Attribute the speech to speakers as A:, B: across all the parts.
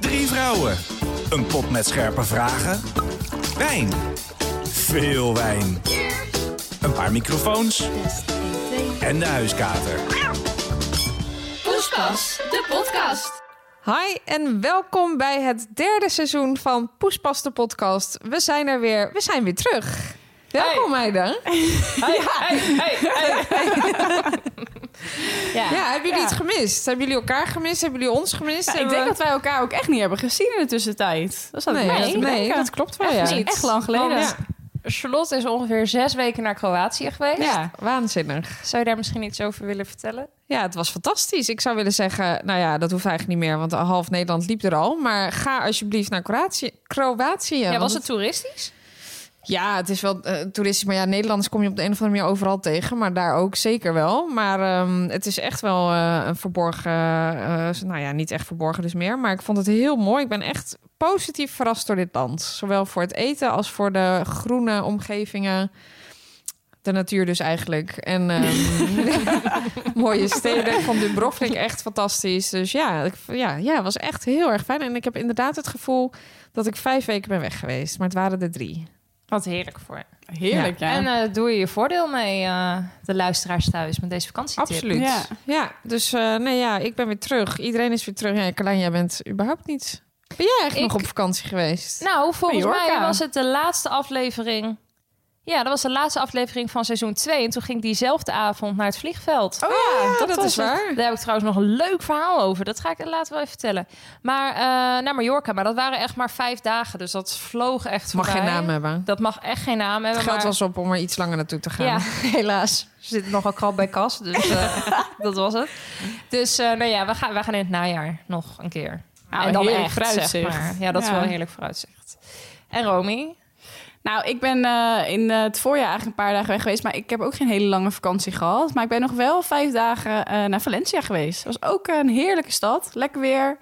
A: Drie vrouwen. Een pot met scherpe vragen. Wijn. Veel wijn. Een paar microfoons. En de huiskater.
B: Poespas, de podcast.
C: Hi en welkom bij het derde seizoen van Poespas de podcast. We zijn er weer. We zijn weer terug. Welkom, meiden.
D: Ja.
C: Ja, hebben jullie
D: Ja.
C: het gemist? Hebben jullie elkaar gemist? Hebben jullie ons gemist?
D: Ja, ik
C: Hebben
D: denk
C: we-
D: dat wij elkaar ook echt niet hebben gezien in de tussentijd. Dat zat
C: Nee,
D: ik me
C: nee,
D: net te bedenken.
C: dat klopt wel,
D: Echt
C: ja.
D: niet. Echt lang geleden.
C: Ja.
B: Charlotte is ongeveer zes weken naar Kroatië geweest.
D: Ja.
C: Waanzinnig.
B: Zou je daar misschien iets over willen vertellen?
C: Ja, het was fantastisch. Ik zou willen zeggen, nou ja, dat hoeft eigenlijk niet meer, want half Nederland liep er al. Maar ga alsjeblieft naar Kroatië. Kroatië
B: Ja,
C: want
B: was het toeristisch?
C: Ja, het is wel eh, toeristisch. Maar ja, Nederlanders kom je op de een of andere manier overal tegen. Maar daar ook zeker wel. Maar ehm, het is echt wel eh, een verborgen... eh, eh, nou ja, niet echt verborgen dus meer. Maar ik vond het heel mooi. Ik ben echt positief verrast door dit land. Zowel voor het eten als voor de groene omgevingen. De natuur dus eigenlijk. En ehm, mooie steden. Ik vond Dubrovnik echt fantastisch. Dus ja, ik, ja, ja, was echt heel erg fijn. En ik heb inderdaad het gevoel dat ik vijf weken ben weg geweest. Maar het waren er drie.
B: Wat heerlijk voor.
D: Heerlijk, ja.
B: En eh, doe je je voordeel mee, eh, de luisteraars thuis, met deze vakantietip.
C: Absoluut. Ja,
D: Ja.
C: dus eh, nee, ja, ik ben weer terug. Iedereen is weer terug. Ja, Carlijn, jij bent überhaupt niet. Ben jij eigenlijk
B: Ik-
C: nog op vakantie geweest?
B: Nou, volgens
D: Mallorca.
B: mij was het de laatste aflevering... Ja, dat was de laatste aflevering van seizoen 2. En toen ging ik diezelfde avond naar het vliegveld.
C: oh ja, dat,
B: was
C: is
B: het.
C: waar.
B: Daar heb ik trouwens nog een leuk verhaal over. Dat ga ik later wel even vertellen. Maar eh, naar Mallorca. Maar dat waren echt maar vijf dagen. Dus dat vloog echt
C: Mag
B: voorbij.
C: geen naam hebben.
B: Dat mag echt geen naam hebben.
C: Het geld
B: maar...
C: was op om er iets langer naartoe te gaan.
B: Ja, helaas. Er zit nogal krap bij kas. Dus eh, dat was het. Dus eh, nou ja, we gaan, we gaan in het najaar nog een keer.
D: Nou,
B: en dan
D: heerlijk
B: echt, zeg
D: vooruitzicht.
B: maar. Ja, dat is
D: Ja.
B: wel een heerlijk vooruitzicht. En Romy?
D: Nou, ik ben eh, in eh, het voorjaar eigenlijk een paar dagen weg geweest. Maar ik heb ook geen hele lange vakantie gehad. Maar ik ben nog wel vijf dagen eh, naar Valencia geweest. Dat was ook een heerlijke stad. Lekker weer.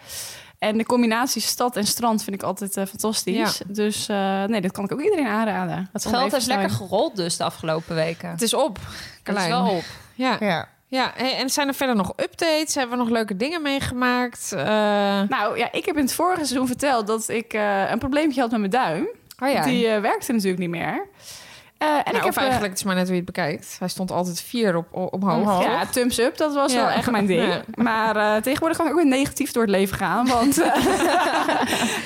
D: En de combinatie stad en strand vind ik altijd eh, fantastisch. Dus eh, nee, dat kan ik ook iedereen aanraden.
B: Het
D: Om
B: geld
D: even
B: heeft
D: te
B: lekker
D: zijn.
B: gerold dus de afgelopen weken.
C: Het is op,
B: Dat is
C: Carlijn.
B: wel op.
C: Ja,
B: Ja.
C: ja. Hey, en zijn er verder nog updates? Hebben we nog leuke dingen meegemaakt? Eh,
D: Nou ja, ik heb in het vorige seizoen verteld dat ik eh, een probleempje had met mijn duim.
C: oh ja.
D: Die eh, werkte natuurlijk niet meer. Eh, en
C: Nou,
D: ik
C: of
D: heb eh,
C: eigenlijk, het is maar net hoe je het bekijkt. Hij stond altijd vier op, o- omhoog.
D: Ja, thumbs up, dat was
C: Ja.
D: wel echt mijn ding.
C: Ja.
D: Maar eh, tegenwoordig kan ik ook weer negatief door het leven gaan, want eh,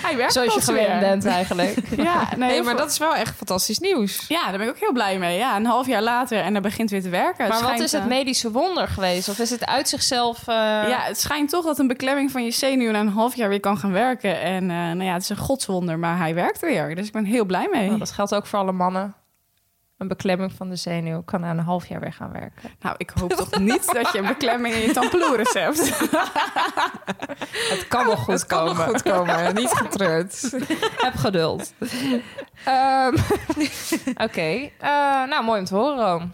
D: hij werkt
B: Zoals je
D: pas
B: gewend
D: weer.
B: bent eigenlijk.
D: Ja, nee,
C: Nee, maar dat is wel echt fantastisch nieuws.
D: ja, daar ben ik ook heel blij mee. Ja, een half jaar later en hij begint weer te werken. Het
B: Maar wat
D: schijnt,
B: is het
D: eh,
B: medische wonder geweest? Of is het uit zichzelf... eh,
D: Ja, het schijnt toch dat een beklemming van je zenuw na een half jaar weer kan gaan werken. En eh, nou ja, het is een godswonder, maar hij werkt weer. Dus ik ben heel blij mee.
B: nou, dat geldt ook voor alle mannen. Een beklemming van de zenuw kan na een half jaar weer gaan werken.
D: Nou, ik hoop toch niet dat je een beklemming in je tampeloeres hebt.
B: Het kan wel goed
C: het kan nog goed komen. Niet getreurd.
B: Heb geduld. Ehm, Oké. Eh, nou, mooi om te horen, Room.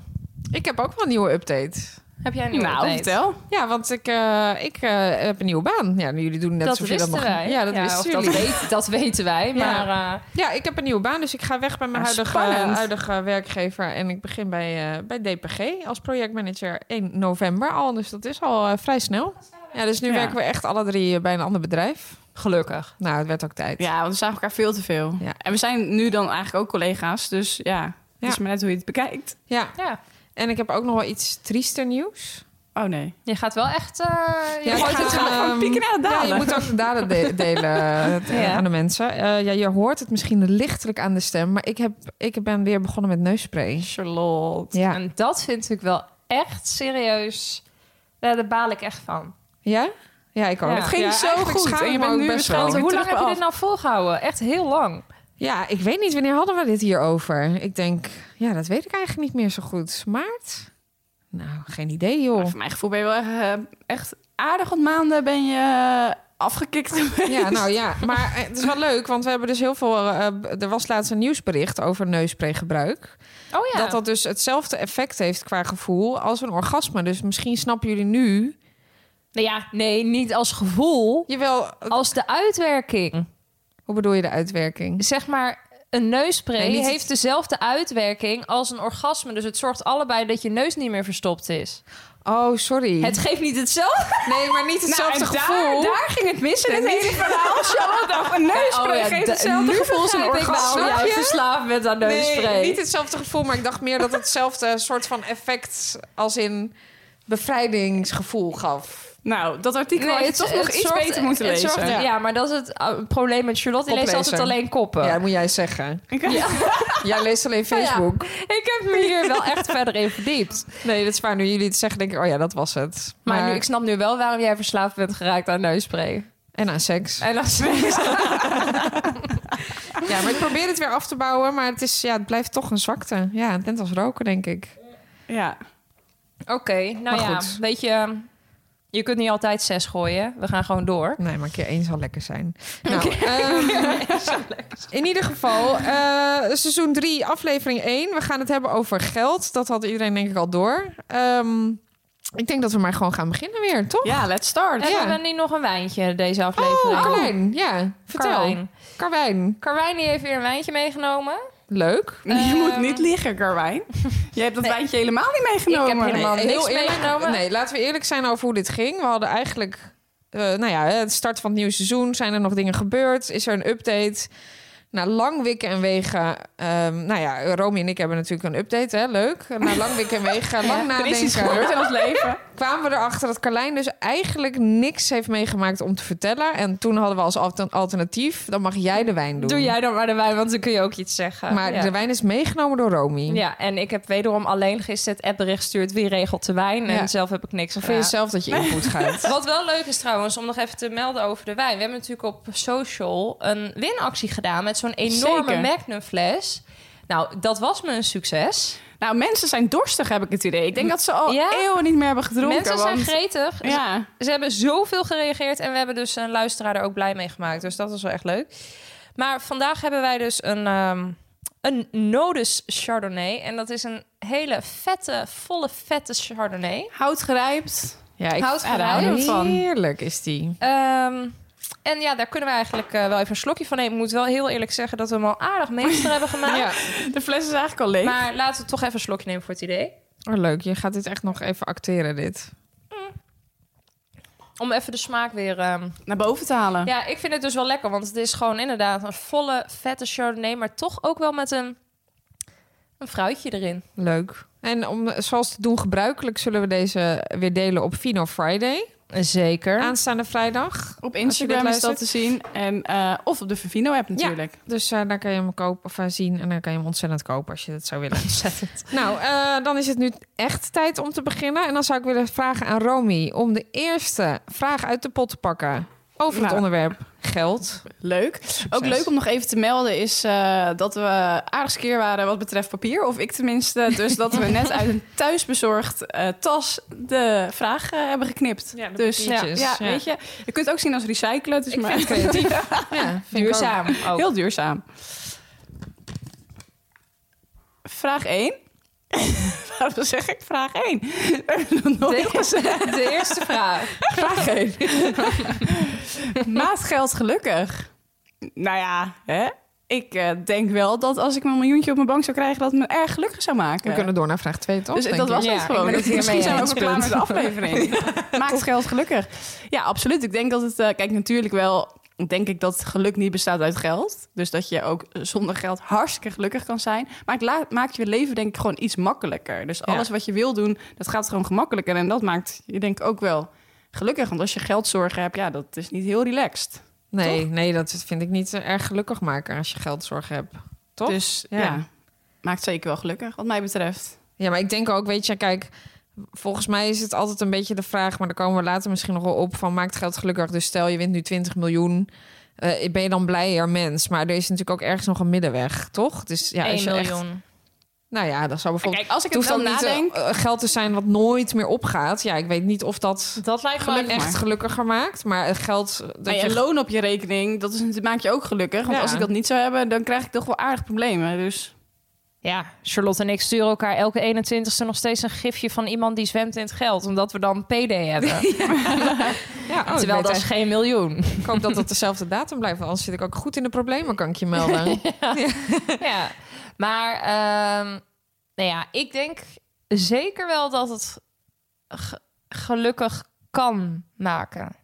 C: Ik heb ook wel een nieuwe update.
B: Heb jij een nieuwe
D: Nou,
B: update?
D: vertel.
C: Ja, want ik, eh, ik eh, heb een nieuwe baan. Ja, nu jullie doen net
B: Dat
C: alsof je dat
B: wisten
C: nog...
B: wij.
C: Ja, dat
B: of
C: wisten
B: dat,
C: jullie.
B: weet- dat weten wij.
C: Ja.
B: Maar eh,
C: Ja, ik heb een nieuwe baan, dus ik ga weg bij mijn
D: Ah,
C: huidige,
D: spannend.
C: huidige werkgever. En ik begin bij, eh, bij DPG als projectmanager 1 november al. Dus dat is al eh, vrij snel. Ja, dus nu
D: Ja.
C: werken we echt alle drie eh, bij een ander bedrijf.
B: gelukkig.
C: Nou, het werd ook tijd.
D: Ja, want we zagen elkaar veel te veel.
C: Ja.
D: En we zijn nu dan eigenlijk ook collega's, dus ja, het is maar net hoe je het bekijkt.
C: Ja.
B: Ja.
C: En ik heb ook nog wel iets triester nieuws.
D: Oh nee.
B: Je gaat wel echt... eh, je
C: Ja, ik
B: gooit
C: ga,
B: het er-
C: ehm,
D: Van pieken naar
C: Ja,
D: het
C: je
D: dalen.
C: moet ook de daden de- delen eh,
B: Ja.
C: aan de mensen. Eh, ja, je hoort het misschien lichtelijk aan de stem, maar ik, heb, ik ben weer begonnen met neusspray.
D: Charlotte.
C: Ja.
B: En dat vind ik wel echt serieus... Ja, daar baal ik echt van.
C: Ja? Ja, ik ook.
B: Ja.
C: Ja.
B: Het
D: ging zo
C: eigenlijk
D: goed
C: schaam
D: en je
C: ik me
D: bent
C: ook
D: nu
C: best
D: waarschijnlijk
C: wel.
B: Want hoe
D: terug
B: lang heb je
D: bij
B: dit nou volgehouden? Echt heel lang.
C: Ja, ik weet niet. Wanneer hadden we dit hierover? Ik denk, ja, dat weet ik eigenlijk niet meer zo goed. Maart? Nou, geen idee,
D: Maar
C: joh.
D: Voor mijn gevoel ben je wel echt, eh, echt aardig wat maanden ben je eh, afgekikt geweest.
C: Ja, nou ja. Maar eh, het is wel leuk, want we hebben dus heel veel... eh, b- er was laatst een nieuwsbericht over neuspraygebruik.
B: Oh ja.
C: Dat dat dus hetzelfde effect heeft qua gevoel als een orgasme. Dus misschien snappen jullie nu...
B: Nou ja, nee, niet als gevoel.
C: Jawel,
B: Als de uitwerking.
C: hoe bedoel je de uitwerking?
B: Zeg maar, een neusspray
C: Nee, niet-
B: heeft dezelfde uitwerking als een orgasme. Dus het zorgt allebei dat je neus niet meer verstopt is.
C: Oh, sorry.
B: Het geeft niet hetzelfde Nou,
C: Nee, maar niet hetzelfde
D: en
C: gevoel.
D: Daar, daar ging het mis in het hele verhaal. Charlotte, een
B: Oh
D: neuspray
B: ja,
D: geeft
B: da-
D: hetzelfde
B: nu
D: gevoel als een
B: begrijp ik waarom
D: orgasme.
B: jij verslaafd bent aan neuspray.
C: nee, niet hetzelfde gevoel, maar ik dacht meer dat hetzelfde soort van effect als in bevrijdingsgevoel gaf.
D: Nou, dat artikel had je
B: het-
D: toch
B: het
D: nog iets
B: zorgt-
D: beter moeten
B: het
D: lezen.
B: zorgt- ja. maar dat is het uh, probleem met Charlotte. Die leest
C: Koplezer.
B: altijd alleen koppen.
C: Ja, dat moet jij zeggen.
D: Ja.
C: Jij leest alleen Facebook.
B: Ik heb me hier wel echt verder in verdiept.
C: Nee, dat is waar. Nu jullie het zeggen, denk ik, oh ja, dat was het.
B: Maar, nu, ik snap nu wel waarom jij verslaafd bent geraakt aan neuspray.
C: En aan seks.
B: En als
C: Ja, maar ik probeer het weer af te bouwen, maar het, is, ja, het blijft toch een zwakte. Ja, net als roken, denk ik.
D: ja.
B: Oké, nou
C: Maar
B: ja,
C: goed.
B: weet je... Je kunt niet altijd zes gooien. We gaan gewoon door.
C: Nee, maar een keer één zal lekker zijn. Nou, ehm, in ieder geval, eh, seizoen 3, aflevering 1. We gaan het hebben over geld. Dat had iedereen denk ik al door. Ehm, ik denk dat we maar gewoon gaan beginnen weer, toch?
D: ja, let's start.
B: En we
C: Ja.
B: hebben nu nog een wijntje deze aflevering.
C: Oh, Carlijn. Ja, vertel.
B: Carlijn.
C: Carlijn.
B: Carwijn die heeft weer een wijntje meegenomen.
C: Leuk.
D: Je
B: Ehm,
D: moet niet liegen, Carwijn. Je hebt dat wijntje helemaal niet meegenomen.
B: Ik heb helemaal-
C: Oh, Nee,
B: niks
C: heel eerlijk,
B: meegenomen.
C: Nee, laten we eerlijk zijn over hoe dit ging. We hadden eigenlijk, eh, nou ja, het start van het nieuwe seizoen. Zijn er nog dingen gebeurd? Is er een update? Na lang wikken en wegen, ehm, nou ja, Romy en ik hebben natuurlijk een update, hè? Leuk. Na lang wikken en wegen, lang
D: Er is iets
C: nadenken,
D: gebeurd in ons leven.
C: kwamen we erachter dat Carlijn dus eigenlijk niks heeft meegemaakt om te vertellen. En toen hadden we als alter- alternatief, dan mag jij de wijn doen.
B: Doe jij dan maar de wijn, want dan kun je ook iets zeggen.
C: Maar
B: ja.
C: de wijn is meegenomen door Romy.
B: Ja, en ik heb wederom alleen gisteren het appbericht gestuurd... wie regelt de wijn? En
C: Ja.
B: zelf heb ik niks
C: Vind je
B: gevraagd.
C: zelf dat je input gaat?
B: Wat wel leuk is trouwens, om nog even te melden over de wijn. We hebben natuurlijk op social een winactie gedaan... met zo'n enorme
D: Zeker.
B: Magnum fles. Nou, dat was me een succes.
D: Nou, mensen zijn dorstig, heb ik het idee. Ik denk dat ze al
B: Ja?
D: eeuwen niet meer hebben gedronken.
B: Mensen zijn
D: want-
B: gretig. Ze-
D: Ja.
B: Ze hebben zoveel gereageerd en we hebben dus een luisteraar er ook blij mee gemaakt. Dus dat is wel echt leuk. Maar vandaag hebben wij dus een, ehm een Nodus Chardonnay. En dat is een hele vette, volle vette Chardonnay.
D: Hout gerijpt.
C: Ja, ik
B: Hout
D: ja, daar
B: gerijpt.
D: houden we van.
C: Heerlijk is die.
B: Ehm, en ja, daar kunnen we eigenlijk eh, wel even een slokje van nemen. Ik moet wel heel eerlijk zeggen dat we hem al aardig meester hebben gemaakt.
C: Ja.
D: De fles is eigenlijk al leeg.
B: Maar laten we toch even een slokje nemen voor het idee.
C: Oh, leuk. Je gaat dit echt nog even acteren, dit.
B: Om even de smaak weer... ehm,
D: Naar boven te halen.
B: Ja, ik vind het dus wel lekker, want het is gewoon inderdaad een volle, vette Chardonnay, maar toch ook wel met een, een fruitje erin.
C: Leuk. En om, zoals te doen gebruikelijk zullen we deze weer delen op Vino Friday.
B: Zeker.
C: Aanstaande vrijdag.
D: Op
C: Als
D: Instagram
C: je dit
D: is dat te zien. En, eh, of op de Vivino-app natuurlijk.
C: Dus eh, daar kan je hem kopen, of, eh, zien en dan kan je hem ontzettend kopen als je dat zou willen. nou, eh, dan is het nu echt tijd om te beginnen. En dan zou ik willen vragen aan Romy om de eerste vraag uit de pot te pakken. Over het
D: Nou.
C: onderwerp geld.
D: Leuk. Ook leuk om nog even te melden is eh, dat we aardig skeer waren wat betreft papier. Of ik tenminste. Dus dat we net uit een thuisbezorgd eh, tas de vraag eh, hebben geknipt.
C: Ja, de
D: dus ja,
C: papiertjes,
D: ja,
C: ja.
D: weet je. Je kunt het ook zien als recyclen. Dus
B: Ik
D: maar
B: vind het creatief.
C: Ja,
B: Duurzaam ook.
D: heel duurzaam. Vraag 1. Waarom zeg ik vraag 1? We hebben nog nooit
B: De-
D: gezegd.
B: De eerste vraag.
D: Vraag 1. Maatgeld gelukkig. Nou ja, hè? ik eh, denk wel dat als ik mijn miljoentje op mijn bank zou krijgen... dat het me erg gelukkig zou maken.
C: We kunnen door naar vraag 2, toch?
D: dus
C: denk
D: dat
C: ik?
D: was
B: Ja,
D: het
B: ik
D: gewoon.
B: ben het
D: Misschien
B: hiermee
D: zijn we ook
B: eens.
D: klaar met de aflevering. Maakt geld gelukkig. Ja, absoluut. Ik denk dat het... eh, kijk, natuurlijk wel... Denk ik dat geluk niet bestaat uit geld. Dus dat je ook zonder geld hartstikke gelukkig kan zijn. Maar het la- maakt je leven denk ik gewoon iets makkelijker. Dus
C: Ja.
D: alles wat je wil doen, dat gaat gewoon gemakkelijker. En dat maakt je denk ik ook wel gelukkig. Want als je geldzorgen hebt, ja, dat is niet heel relaxed.
C: Nee, nee, dat vind ik niet eh, erg gelukkig maken als je geldzorg hebt. Toch?
D: Dus ja.
C: Ja.
D: maakt zeker wel gelukkig, wat mij betreft.
C: Ja, maar ik denk ook, weet je, kijk, volgens mij is het altijd een beetje de vraag, maar daar komen we later misschien nog wel op van maakt geld gelukkig. Dus stel je wint nu 20 miljoen, eh, ben je dan blijer mens? Maar er is natuurlijk ook ergens nog een middenweg, toch? Dus ja,
B: 1
C: als je echt,
B: miljoen.
C: nou ja, dat zou bijvoorbeeld
D: Kijk, als ik
C: het
D: het
C: hoeft
D: wel
C: dan niet eh,
D: nadenk...
C: eh, geld te zijn wat nooit meer opgaat. Ja, ik weet niet of dat
B: Dat lijkt
C: geluk
B: me
C: echt gelukkiger maakt, maar het geld dat
D: Dat je
C: je
D: Nou loon op je rekening, dat, is, dat maakt je ook gelukkig. Want
C: Ja.
D: als ik dat niet zou hebben, dan krijg ik toch wel aardig problemen. Dus
B: Ja, Charlotte en ik sturen elkaar elke 21ste nog steeds een gifje van iemand die zwemt in het geld. Omdat we dan PD hebben.
C: ja, oh, ik
B: Terwijl
C: weet
B: dat is geen miljoen.
C: Ik hoop dat dat dezelfde datum blijft, want anders zit ik ook goed in de problemen, kan ik je melden.
B: ja. Maar ehm, nou ja, ik denk zeker wel dat het ge- gelukkig kan maken.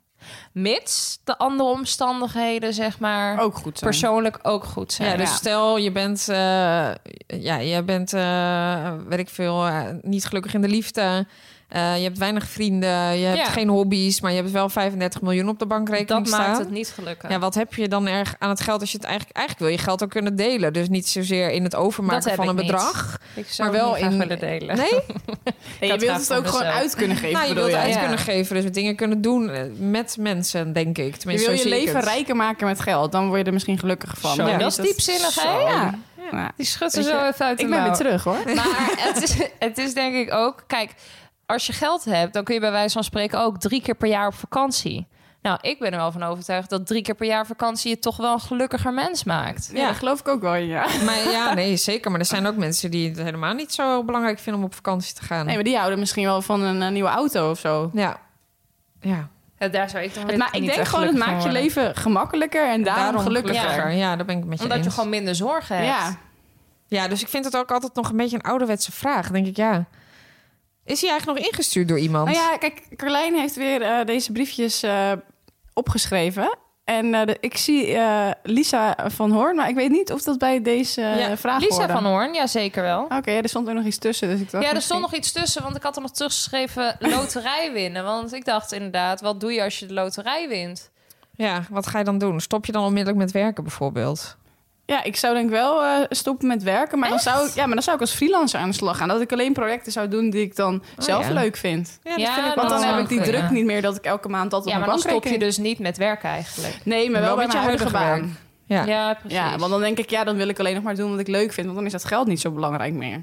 B: Mits de andere omstandigheden, zeg maar,
D: Ook goed zo.
B: persoonlijk ook goed zijn.
C: Ja, dus
D: Ja.
C: stel je bent, eh, ja, je bent, eh, weet ik veel, eh, niet gelukkig in de liefde. Eh, je hebt weinig vrienden, je hebt
B: Ja.
C: geen hobby's, maar je hebt wel 35 miljoen op de bankrekening
B: dat
C: staan.
B: maakt het niet gelukkig.
C: Ja, wat heb je dan erg aan het geld als je het eigenlijk... Eigenlijk wil je geld ook kunnen delen. Dus niet zozeer in het
B: Dat
C: overmaken
B: heb
C: van
B: ik
C: een
B: niet.
C: bedrag.
B: ik zou
C: maar wel
B: het niet graag
C: in-
B: willen delen.
C: Nee?
D: Nee, je
B: had
D: wilt
B: graag
D: het
B: voor
D: ook gewoon
B: mezelf.
D: uit kunnen geven.
C: nou, je
D: bedoel
C: wilt het uit
B: Ja.
C: kunnen geven. Dus dingen kunnen doen eh, met mensen, denk ik.
D: Je
C: Tenminste,
D: wil
C: zo
D: je
C: zie ik
D: leven
C: het.
D: rijker maken met geld. Dan word je er misschien gelukkiger van. dus
B: Zo,
D: Maar
B: dat is diepzinnig, hè? Ja.
D: Ja. Nou,
B: Die schudt er
D: Weet je,
B: zo even uit de
D: ik ben weer
B: mouw.
D: terug, hoor.
B: Maar het is, het is denk ik ook... Kijk, als je geld hebt, dan kun je bij wijze van spreken ook drie keer per jaar op vakantie. Nou, ik ben er wel van overtuigd dat drie keer per jaar vakantie je toch wel een gelukkiger mens maakt.
D: Ja, dat geloof ik ook wel, ja.
C: Maar ja, nee, zeker. Maar er zijn ook mensen die het helemaal niet zo belangrijk vinden om op vakantie te gaan.
D: Nee, maar die houden misschien wel van een, eh, nieuwe auto of zo.
C: Ja. Ja,
B: Ja, daar zou ik dan
D: Het
B: weer
D: ma- ik
B: niet
D: denk
B: echt
D: gewoon,
B: gelukkig
D: het
B: van
D: maakt je
B: worden.
D: leven gemakkelijker en daarom, gelukkiger.
C: Ja. daar ben ik met je
B: Omdat
C: eens.
B: je gewoon minder zorgen hebt.
D: Ja.
C: Ja, dus ik vind het ook altijd nog een beetje een ouderwetse vraag. Dan denk ik, ja... Is hij eigenlijk nog ingestuurd door iemand?
D: Nou ja, kijk, Carlijn heeft weer eh, deze briefjes eh, opgeschreven. En eh, de- ik zie eh, Lisa van Hoorn, maar ik weet niet of dat bij deze eh,
C: Ja,
D: vraag
B: Lisa
D: hoorde.
B: van Hoorn, ja zeker Ah, wel.
D: Oké, ja, er stond ook nog iets tussen. Dus ik dacht
B: Ja, er
D: misschien-
B: stond nog iets tussen, want ik had er nog teruggeschreven loterij winnen. Want ik dacht inderdaad, wat doe je als je de loterij wint?
C: Ja, wat ga je dan doen? Stop je dan onmiddellijk met werken bijvoorbeeld?
D: Ja, ik zou denk ik wel eh, stoppen met werken. Maar dan, zou ik, ja, maar dan zou ik als freelancer aan de slag gaan. Dat ik alleen projecten zou doen die ik dan zelf
C: ja.
D: leuk vind.
C: Ja,
B: dat Oh, Ja, vind ik
D: Want
B: dat
D: dan
B: zou
D: heb ik die
B: kunnen.
D: druk niet meer dat ik elke maand dat op
B: Ja,
D: mijn
B: maar dan
D: bankrekening...
B: stop je dus niet met werk eigenlijk.
D: Nee, maar wel, met je huidige baan.
C: werk. Ja.
B: Ja, precies.
D: Ja, want dan denk ik, ja, dan wil ik alleen nog maar doen wat ik leuk vind. Want dan is dat geld niet zo belangrijk meer.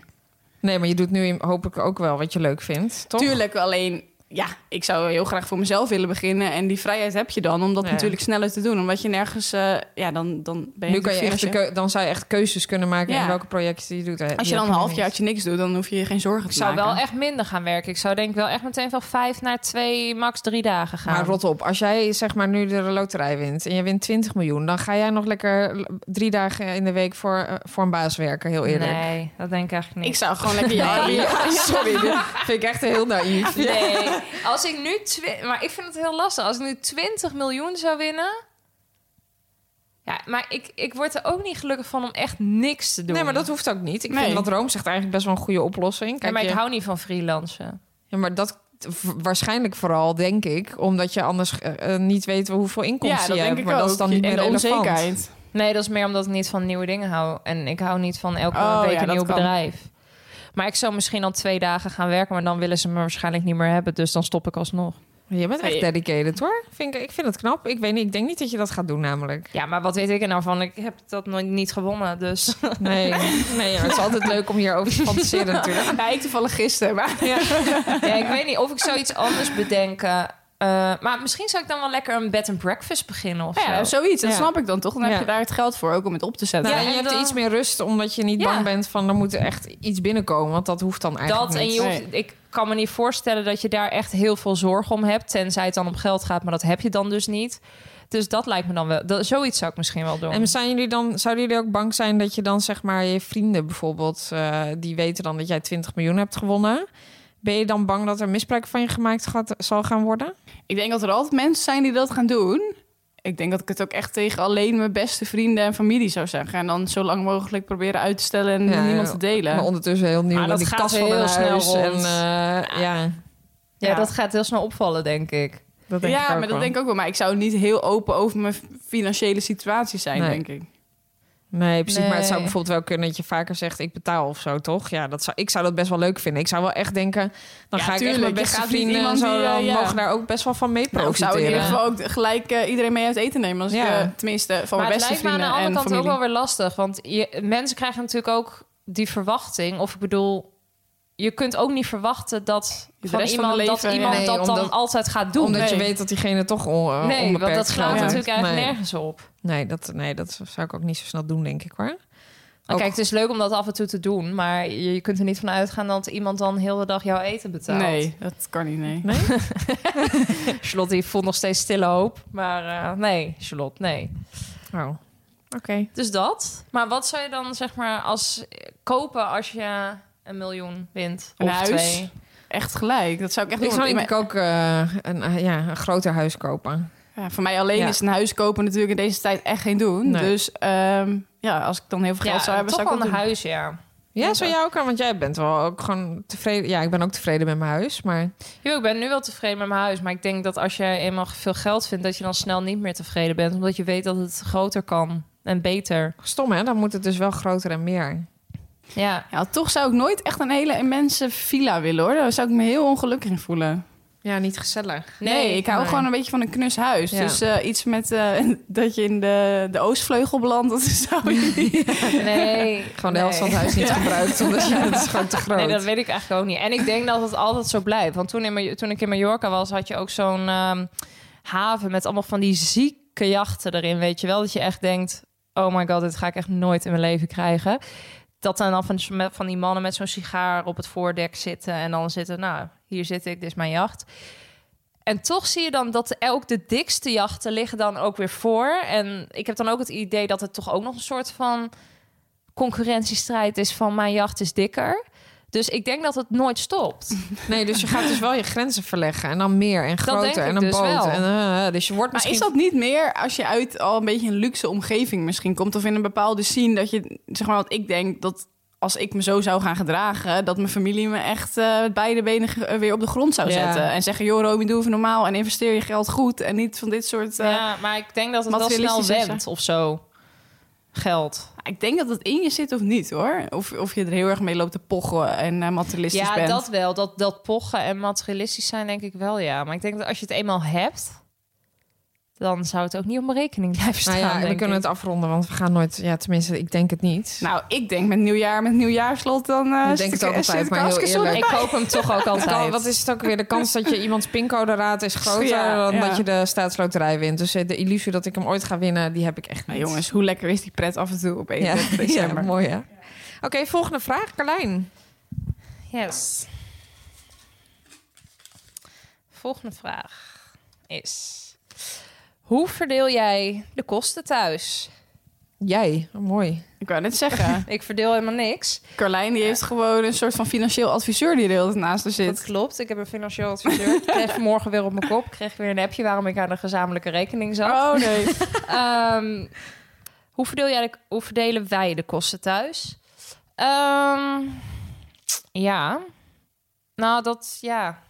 C: Nee, maar je doet nu in- hopelijk ook wel wat je leuk vindt, toch?
D: Tuurlijk, alleen, ja, ik zou heel graag voor mezelf willen beginnen. En die vrijheid heb je dan, om dat
C: Ja.
D: natuurlijk sneller te doen. Omdat je nergens, eh, ja, dan, dan ben je...
C: Nu kan je echt de
D: natuurlijk
C: keu- dan zou je echt keuzes kunnen maken
D: Ja.
C: in welke projecten je doet.
D: Als je dan een halfjaartje niks doet, dan hoef je je geen zorgen
B: Ik
D: te
B: zou
D: maken.
B: wel echt minder gaan werken. Ik zou denk ik wel echt meteen van vijf naar twee, max drie dagen gaan.
C: Maar rot op, als jij zeg maar nu de loterij wint en je wint 20 miljoen... dan ga jij nog lekker l- drie dagen in de week voor, eh, voor een baas werken, heel eerlijk.
B: Nee, dat denk ik eigenlijk
D: Ik
B: niet.
D: zou gewoon lekker je hobby-
C: Sorry, dit vind ik echt heel naïef.
B: Nee, als ik nu... twi- Maar ik vind het heel lastig. Als ik nu 20 miljoen zou winnen... Ja, maar ik, ik word er ook niet gelukkig van om echt niks te doen.
C: Nee, maar dat hoeft ook niet. Ik
D: Nee.
C: vind wat Rome zegt eigenlijk best wel een goede oplossing.
B: Ja,
C: Kijk,
B: maar ik
C: je-
B: hou niet van freelancen.
C: Ja, maar dat v- waarschijnlijk vooral, denk ik, omdat je anders eh, eh, niet weet hoeveel inkomsten
D: Ja, dat
C: je
D: denk
C: hebt.
D: ik
C: maar
D: ook.
C: dat is dan niet
D: en
C: meer
D: de
C: relevant.
D: onzekerheid.
B: Nee, dat is meer omdat ik niet van nieuwe dingen hou. En ik hou niet van elke
D: Oh,
B: week
D: ja,
B: een
D: dat
B: nieuw
D: kan.
B: bedrijf. Maar ik zou misschien al twee dagen gaan werken... maar dan willen ze me waarschijnlijk niet meer hebben. Dus dan stop ik alsnog.
C: Je bent echt
D: Nee.
C: dedicated hoor. Vind ik, ik vind het knap. Ik weet niet, ik denk niet dat je dat gaat doen namelijk.
B: Ja, maar wat weet ik er nou van? Ik heb dat nooit niet gewonnen, dus...
C: Nee, nee ja, het is altijd leuk om hierover te fantaseren natuurlijk.
D: Ja, ik toevallig gisteren, maar...
B: Ja, ik weet niet of ik zoiets anders bedenken. Eh, maar misschien zou ik dan wel lekker een bed and breakfast beginnen of
D: Ja,
B: zo.
D: zoiets, dat
C: Ja.
D: snap ik dan toch. Dan
C: Ja.
D: heb je daar het geld voor, ook om het op te zetten.
C: Nou,
B: Ja,
C: en je
B: en
C: hebt
B: dan-
C: iets meer rust omdat je niet
B: Ja.
C: bang bent van er moet echt iets binnenkomen. Want dat hoeft dan eigenlijk
B: Dat en
C: niet.
B: je hoeft, ik kan me niet voorstellen dat je daar echt heel veel zorg om hebt. Tenzij het dan om geld gaat, maar dat heb je dan dus niet. Dus dat lijkt me dan wel. Dat, zoiets zou ik misschien wel doen.
C: En zijn jullie dan, zouden jullie ook bang zijn dat je dan zeg maar je vrienden bijvoorbeeld, eh, die weten dan dat jij 20 miljoen hebt gewonnen? Ben je dan bang dat er misbruik van je gemaakt gaat, zal gaan worden?
D: Ik denk dat er altijd mensen zijn die dat gaan doen. Ik denk dat ik het ook echt tegen alleen mijn beste vrienden en familie zou zeggen. En dan zo lang mogelijk proberen uit te stellen en
C: Ja,
D: met niemand te delen.
C: Maar ondertussen heel nieuw
B: Maar
C: in
B: dat
C: die
B: gaat
C: kast van
B: heel
C: een
B: snel
C: huis
B: rond.
C: En, eh, ja,
B: ja, dat gaat heel snel opvallen, denk ik.
C: dat denk
D: ja,
C: ik ook
D: maar dat
C: wel.
D: denk ik ook wel. Maar ik zou niet heel open over mijn financiële situatie zijn,
C: Nee.
D: denk ik.
C: Nee, precies. Maar het zou
B: Nee.
C: bijvoorbeeld wel kunnen dat je vaker zegt ik betaal of zo, toch? Ja, dat zou, ik zou dat best wel leuk vinden. Ik zou wel echt denken, dan
D: Ja,
C: ga ik echt
D: tuurlijk.
C: mijn
D: Je
C: beste
D: gaat niet
C: vrienden en
D: iemand
C: zo,
D: die, eh,
C: dan
D: ja.
C: mogen daar ook best wel van mee
D: Nou, ik zou in
C: profiteren.
D: ieder geval ook gelijk eh, iedereen mee uit eten nemen. Als
C: Ja.
D: ik, eh, tenminste, van
B: maar
D: mijn
B: het
D: beste
B: lijkt me aan
D: vrienden
B: de andere
D: en
B: kant
D: familie.
B: ook wel weer lastig. Want je, mensen krijgen natuurlijk ook die verwachting. Of ik bedoel, je kunt ook niet verwachten dat
D: De
B: van
D: rest van
B: iemand,
D: het
B: dat,
D: leven, ja.
B: iemand
C: Nee,
B: dat dan
C: omdat-
B: altijd gaat doen.
C: Omdat je
D: Nee.
C: weet dat diegene toch on, eh,
B: Nee,
C: onbeperkt
B: want dat slaat
C: geld heeft.
B: natuurlijk eigenlijk
C: nee.
B: nergens op. Nou,
C: Nee dat, nee, dat zou ik ook niet zo snel doen, denk ik hoor.
B: Maar
C: Ook-
B: Kijk, het is leuk om dat af en toe te doen, maar je, je kunt er niet van uitgaan dat iemand dan heel de dag jouw eten betaalt.
D: Nee, dat kan niet, nee.
B: Charlotte die voelt nog steeds stille hoop, maar eh, nee, Charlotte, nee.
C: Oh, oké.
B: Dus dat. Maar wat zou je dan zeg maar als kopen als je een miljoen wint
D: Een
B: of
D: huis.
B: twee?
D: echt gelijk. Dat zou ik echt
C: Ik
D: doen.
C: zou
D: want in
C: denk ik ook eh, een, eh, ja, een groter huis kopen.
D: mijn- ja, voor mij alleen
C: Ja.
D: is een huis kopen natuurlijk in deze tijd echt geen doen.
C: Nee.
D: Dus ehm, ja, als ik dan heel veel geld zou hebben,
B: toch
D: zou ik
B: wel een
D: dat doen.
B: huis, ja.
C: Ja, zou jij ook aan? Want jij bent wel ook gewoon tevreden. Ja, ik ben ook tevreden met mijn huis. Maar
B: Jo, ik ben nu wel tevreden met mijn huis. Maar ik denk dat als je eenmaal veel geld vindt... dat je dan snel niet meer tevreden bent. Omdat je weet dat het groter kan en beter.
C: stom hè, dan moet het dus wel groter en meer.
B: Ja,
D: Ja, toch zou ik nooit echt een hele immense villa willen hoor. Daar zou ik me heel ongelukkig in voelen.
C: Ja, niet gezellig.
D: Nee, ik hou
C: nee.
D: gewoon een beetje van een knus huis.
C: Ja.
D: Dus eh, iets met eh, dat je in de, de oostvleugel belandt, dat zou je niet.
B: Nee.
C: Gewoon de helft van het huis niet gebruikt, omdat ja, het is gewoon te groot.
B: Nee, dat weet ik eigenlijk ook niet. En ik denk dat het altijd zo blijft. Want toen, in, Ma- toen ik in Mallorca was, had je ook zo'n ehm, haven met allemaal van die zieke jachten erin. Weet je wel dat je echt denkt: oh my god, dit ga ik echt nooit in mijn leven krijgen. Dat dan al van, met- van die mannen met zo'n sigaar op het voordek zitten. En dan zitten, nou, hier zit ik, dit is mijn jacht. En toch zie je dan dat ook de dikste jachten liggen dan ook weer voor. En ik heb dan ook het idee dat het toch ook nog een soort van concurrentiestrijd is van mijn jacht is dikker. Dus ik denk dat het nooit stopt.
C: Nee, dus je gaat dus wel je grenzen verleggen. En dan meer en
B: denk
C: groter
B: ik
C: en een
B: dus
C: boot.
B: wel.
C: En, eh, dus je wordt
D: Maar
C: misschien...
D: is dat niet meer als je uit al een beetje een luxe omgeving misschien komt of in een bepaalde scene dat je zeg maar wat ik denk dat als ik me zo zou gaan gedragen, dat mijn familie me echt eh, met beide benen ge- eh, weer op de grond zou
C: Ja.
D: zetten en zeggen: joh, Romy, doe even normaal en investeer je geld goed en niet van dit soort. eh,
B: ja, maar ik denk dat het wel snel
D: materialistisch is,
B: went of zo. Geld.
D: Ik denk dat het in je zit of niet, hoor. Of, of je er heel erg mee loopt te pochen en eh, materialistisch
B: Ja,
D: bent.
B: dat wel. Dat, dat pochen en materialistisch zijn denk ik wel, ja. Maar ik denk dat als je het eenmaal hebt... dan zou het ook niet op mijn rekening blijven staan,
C: Nou ja, we
B: denk
C: kunnen
B: ik.
C: het afronden, want we gaan nooit... Ja, tenminste, ik denk het niet.
D: Nou, ik denk met nieuwjaar, met nieuwjaarslot, dan eh
C: Ik denk
D: zit
C: het ook
D: zit
C: altijd,
D: ik
C: maar heel
D: hartstikke
C: eerlijk.
D: zonnig
B: Ik koop hem toch ook
C: De kan-
B: altijd.
C: wat is het ook weer? De kans dat je iemands pincode raadt is groter
D: Ja,
C: dan
D: ja.
C: dat je de staatsloterij wint. Dus eh, de illusie dat ik hem ooit ga winnen, die heb ik echt niet.
D: Nou jongens, hoe lekker is die pret af en toe op 1
C: ja, ja,
D: december.
C: mooi hè. Oké, volgende vraag, Carlijn.
B: Yes. Volgende vraag is... Hoe verdeel jij de kosten thuis?
C: Jij, Oh, mooi.
D: Ik wou net zeggen.
B: Ik verdeel helemaal niks.
D: Carlijn die heeft gewoon een soort van financieel adviseur die er heel naast haar
B: Dat
D: zit.
B: klopt. Ik heb een financieel adviseur. Ik kreeg vanmorgen weer op mijn kop. Ik kreeg weer een appje waarom ik aan de gezamenlijke rekening zat.
D: Oh nee.
B: Ehm, hoe, verdeel jij de- hoe verdelen wij de kosten thuis? Ehm, ja. Nou, dat ja.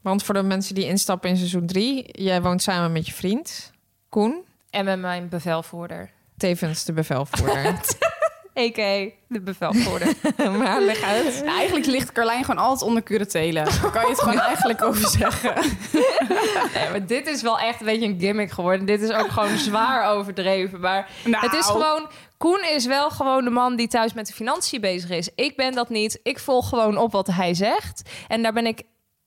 C: Want voor de mensen die instappen in seizoen 3, jij woont samen met je vriend, Koen,
B: En met mijn bevelvoerder.
C: tevens de bevelvoerder.
B: A.k.a. de bevelvoerder.
C: maar leg uit.
D: Nou, eigenlijk ligt Carlijn gewoon altijd onder curatelen. Daar kan je het gewoon eigenlijk over zeggen.
B: nee, maar dit is wel echt een beetje een gimmick geworden. Dit is ook gewoon zwaar overdreven. Maar
D: Nou,
B: Het is gewoon. Koen is wel gewoon de man die thuis met de financiën bezig is. Ik ben dat niet. Ik volg gewoon op wat hij zegt. En daar ben ik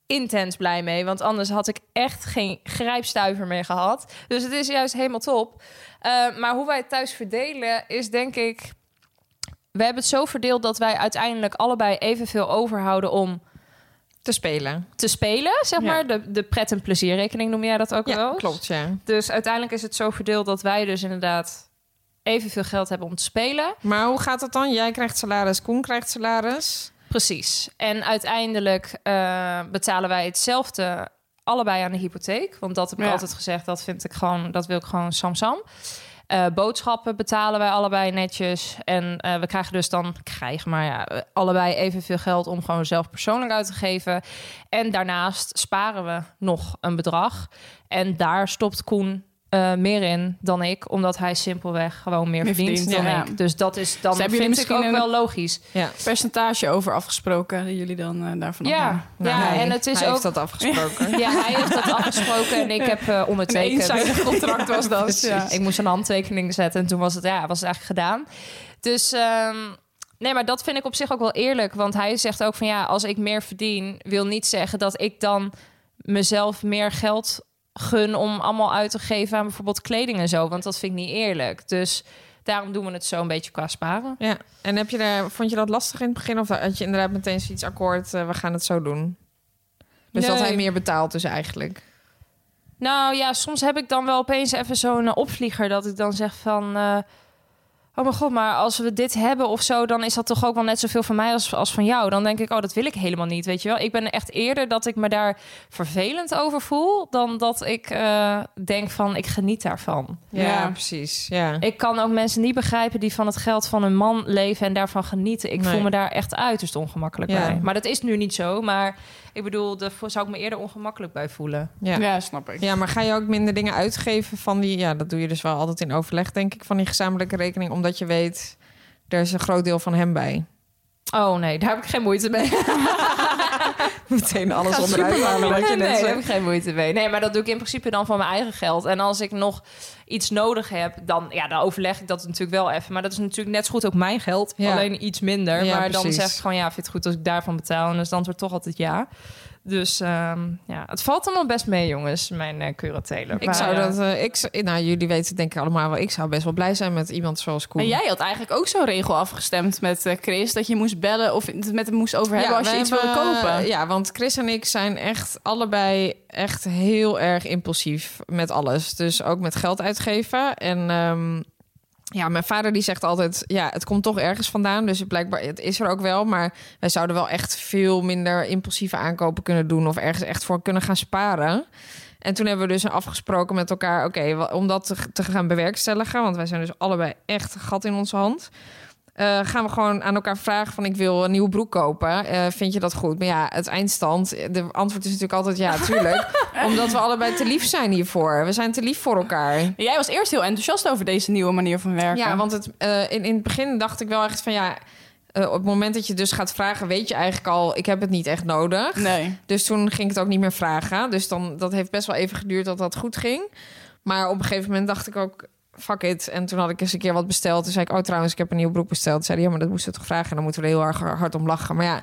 B: intens blij mee. Want anders had ik echt geen grijpstuiver meer gehad. Dus het is juist helemaal top. Eh, maar hoe wij het thuis verdelen is denk ik. We hebben het zo verdeeld dat wij uiteindelijk allebei evenveel overhouden om
C: Te spelen.
B: te spelen. Zeg
C: Ja.
B: maar de, de pret- en plezierrekening noem jij dat ook wel?
C: Ja,
B: eens?
C: klopt, ja.
B: Dus uiteindelijk is het zo verdeeld dat wij dus inderdaad evenveel geld hebben om te spelen.
C: Maar hoe gaat dat dan? Jij krijgt salaris, Koen krijgt salaris.
B: Precies. En uiteindelijk eh, betalen wij hetzelfde allebei aan de hypotheek. Want dat heb ik
D: Ja.
B: altijd gezegd, dat vind ik gewoon, dat wil ik gewoon samsam. Eh, boodschappen betalen wij allebei netjes. En eh, we krijgen dus dan, krijgen maar ja, eh, allebei evenveel geld om gewoon zelf persoonlijk uit te geven. En daarnaast sparen we nog een bedrag. En daar stopt Koen eh, meer in dan ik, omdat hij simpelweg gewoon meer,
D: Meer
B: verdient,
D: verdient,
B: dan
D: ja.
B: ik. Dus dat is dan
D: Dus hebben jullie
B: vind ik ook
D: misschien
B: wel logisch.
C: Ja.
D: percentage over afgesproken dat jullie dan eh, daarvan afhangen.
B: Ja,
C: Nou,
B: ja
C: hij-
B: en het is
C: hij
B: ook.
C: heeft dat afgesproken.
B: Ja, hij heeft dat afgesproken en ik heb eh,
D: Een
B: ondertekend.
D: eenzijdig contract was dat.
B: Precies.
D: Ja.
B: Ik moest een handtekening zetten en toen was het, ja, was het eigenlijk gedaan. Dus ehm, nee, maar dat vind ik op zich ook wel eerlijk. Want hij zegt ook van ja, als ik meer verdien, wil niet zeggen dat ik dan mezelf meer geld gun om allemaal uit te geven aan bijvoorbeeld kleding en zo. Want dat vind ik niet eerlijk. Dus daarom doen we het zo een beetje qua sparen.
C: Ja, en heb je daar, vond je dat lastig in het begin? Of had je inderdaad meteen zoiets akkoord, eh, we gaan het zo doen? Dus dat
B: Nee.
C: hij meer betaalt dus eigenlijk.
B: Nou ja, soms heb ik dan wel opeens even zo'n eh, opvlieger dat ik dan zeg van. eh, oh mijn god, maar als we dit hebben of zo, dan is dat toch ook wel net zoveel van mij als, als van jou. Dan denk ik, oh, dat wil ik helemaal niet, weet je wel. Ik ben echt eerder dat ik me daar vervelend over voel, dan dat ik eh, denk van, ik geniet daarvan.
C: Ja,
D: Ja.
C: precies. Ja.
B: Ik kan ook mensen niet begrijpen die van het geld van een man leven en daarvan genieten. Ik
C: Nee.
B: voel me daar echt uiterst ongemakkelijk
C: Ja.
B: bij. Maar dat is nu niet zo, maar ik bedoel, daar vo- zou ik me eerder ongemakkelijk bij voelen.
C: Ja.
D: Ja, snap ik.
C: Ja, maar ga je ook minder dingen uitgeven van die... Ja, dat doe je dus wel altijd in overleg, denk ik, van die gezamenlijke rekening. Omdat je weet, er is een groot deel van hem bij.
B: Oh nee, daar heb ik geen moeite mee.
C: Meteen alles onderuit halen wat je
B: nee,
C: net
B: daar heb
C: zegt.
B: ik geen moeite mee. Nee, maar dat doe ik in principe dan van mijn eigen geld. En als ik nog iets nodig heb, dan, ja, dan overleg ik dat natuurlijk wel even. Maar dat is natuurlijk net zo goed ook mijn geld.
C: Ja.
B: Alleen iets minder.
C: Ja,
B: maar dan
C: precies.
B: zeg ik gewoon, ja, vind je het goed als ik daarvan betaal? En dan is het antwoord toch altijd ja. Dus ehm, ja, het valt allemaal best mee, jongens, mijn eh curatelen.
C: Ik
B: Maar,
C: zou
B: eh,
C: dat... eh, ik, z- nou, jullie weten het denk ik allemaal wel. Ik zou best wel blij zijn met iemand zoals Koen.
D: En jij had eigenlijk ook zo'n regel afgestemd met eh, Chris... dat je moest bellen of het met hem moest over hebben als je
C: we
D: iets wilde
C: hebben- eh,
D: kopen.
C: Ja, want Chris en ik zijn echt allebei echt heel erg impulsief met alles. Dus ook met geld uitgeven. En ehm, ja, mijn vader die zegt altijd, ja, het komt toch ergens vandaan. Dus blijkbaar, het is er ook wel. Maar wij zouden wel echt veel minder impulsieve aankopen kunnen doen... of ergens echt voor kunnen gaan sparen. En toen hebben we dus afgesproken met elkaar... oké, wa- om dat te, te gaan bewerkstelligen... want wij zijn dus allebei echt een gat in onze hand... eh, gaan we gewoon aan elkaar vragen van... ik wil een nieuwe broek kopen, Eh, vind je dat goed? Maar ja, het eindstand, eh, de antwoord is natuurlijk altijd ja, tuurlijk. omdat we allebei te lief zijn hiervoor. We zijn te lief voor elkaar.
D: En Jij was eerst heel enthousiast over deze nieuwe manier van werken.
C: Ja, want het, eh, in, in het begin dacht ik wel echt van ja. eh, op het moment dat je dus gaat vragen, weet je eigenlijk al, ik heb het niet echt nodig.
D: Nee.
C: Dus toen ging ik het ook niet meer vragen. Dus dan, dat heeft best wel even geduurd dat dat goed ging. Maar op een gegeven moment dacht ik ook, fuck it. En toen had ik eens een keer wat besteld. Toen zei ik, oh trouwens, ik heb een nieuwe broek besteld. Toen zei hij, ja, maar dat moesten we toch vragen? En dan moeten we er heel erg hard om lachen. Maar ja,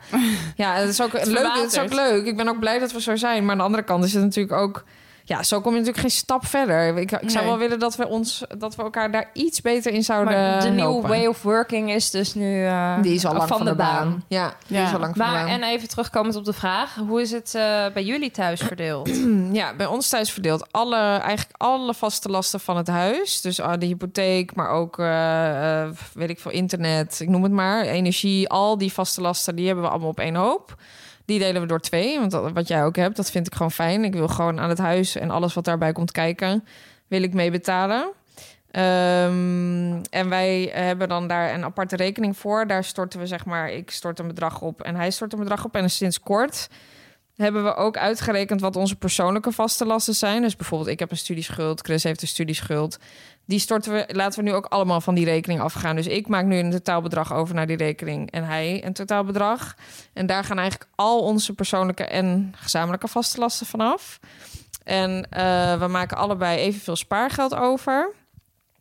C: ja het, is ook leuk, het is ook
D: verwaterd.
C: leuk. Ik ben ook blij dat we zo zijn. Maar aan de andere kant is het natuurlijk ook... Ja, zo kom je natuurlijk geen stap verder. Ik, ik zou
D: Nee.
C: wel willen dat we, ons, dat we elkaar daar iets beter in zouden
B: maar de nieuwe
C: helpen.
B: way of working is dus nu eh,
C: Die is al lang van, de, baan. Ja, die
D: Ja.
C: is al lang van de
B: Maar,
C: baan.
B: en even terugkomend op de vraag, hoe is het eh, bij jullie thuis verdeeld?
C: Ehm, Ja, bij ons thuis verdeeld alle, eigenlijk alle vaste lasten van het huis. Dus ah, de hypotheek, maar ook, eh, eh, weet ik veel, internet, ik noem het maar. Energie, al die vaste lasten, die hebben we allemaal op één hoop. Die delen we door twee, want dat- wat jij ook hebt, dat vind ik gewoon fijn. Ik wil gewoon aan het huis en alles wat daarbij komt kijken, wil ik mee betalen. Ehm, en wij hebben dan daar een aparte rekening voor. Daar storten we zeg maar, ik stort een bedrag op en hij stort een bedrag op. En sinds kort hebben we ook uitgerekend wat onze persoonlijke vaste lasten zijn. Dus bijvoorbeeld, ik heb een studieschuld, Chris heeft een studieschuld. Die storten we, laten we nu ook allemaal van die rekening afgaan. Dus ik maak nu een totaalbedrag over naar die rekening en hij een totaalbedrag. En daar gaan eigenlijk al onze persoonlijke en gezamenlijke vaste lasten vanaf. En eh, we maken allebei evenveel spaargeld over.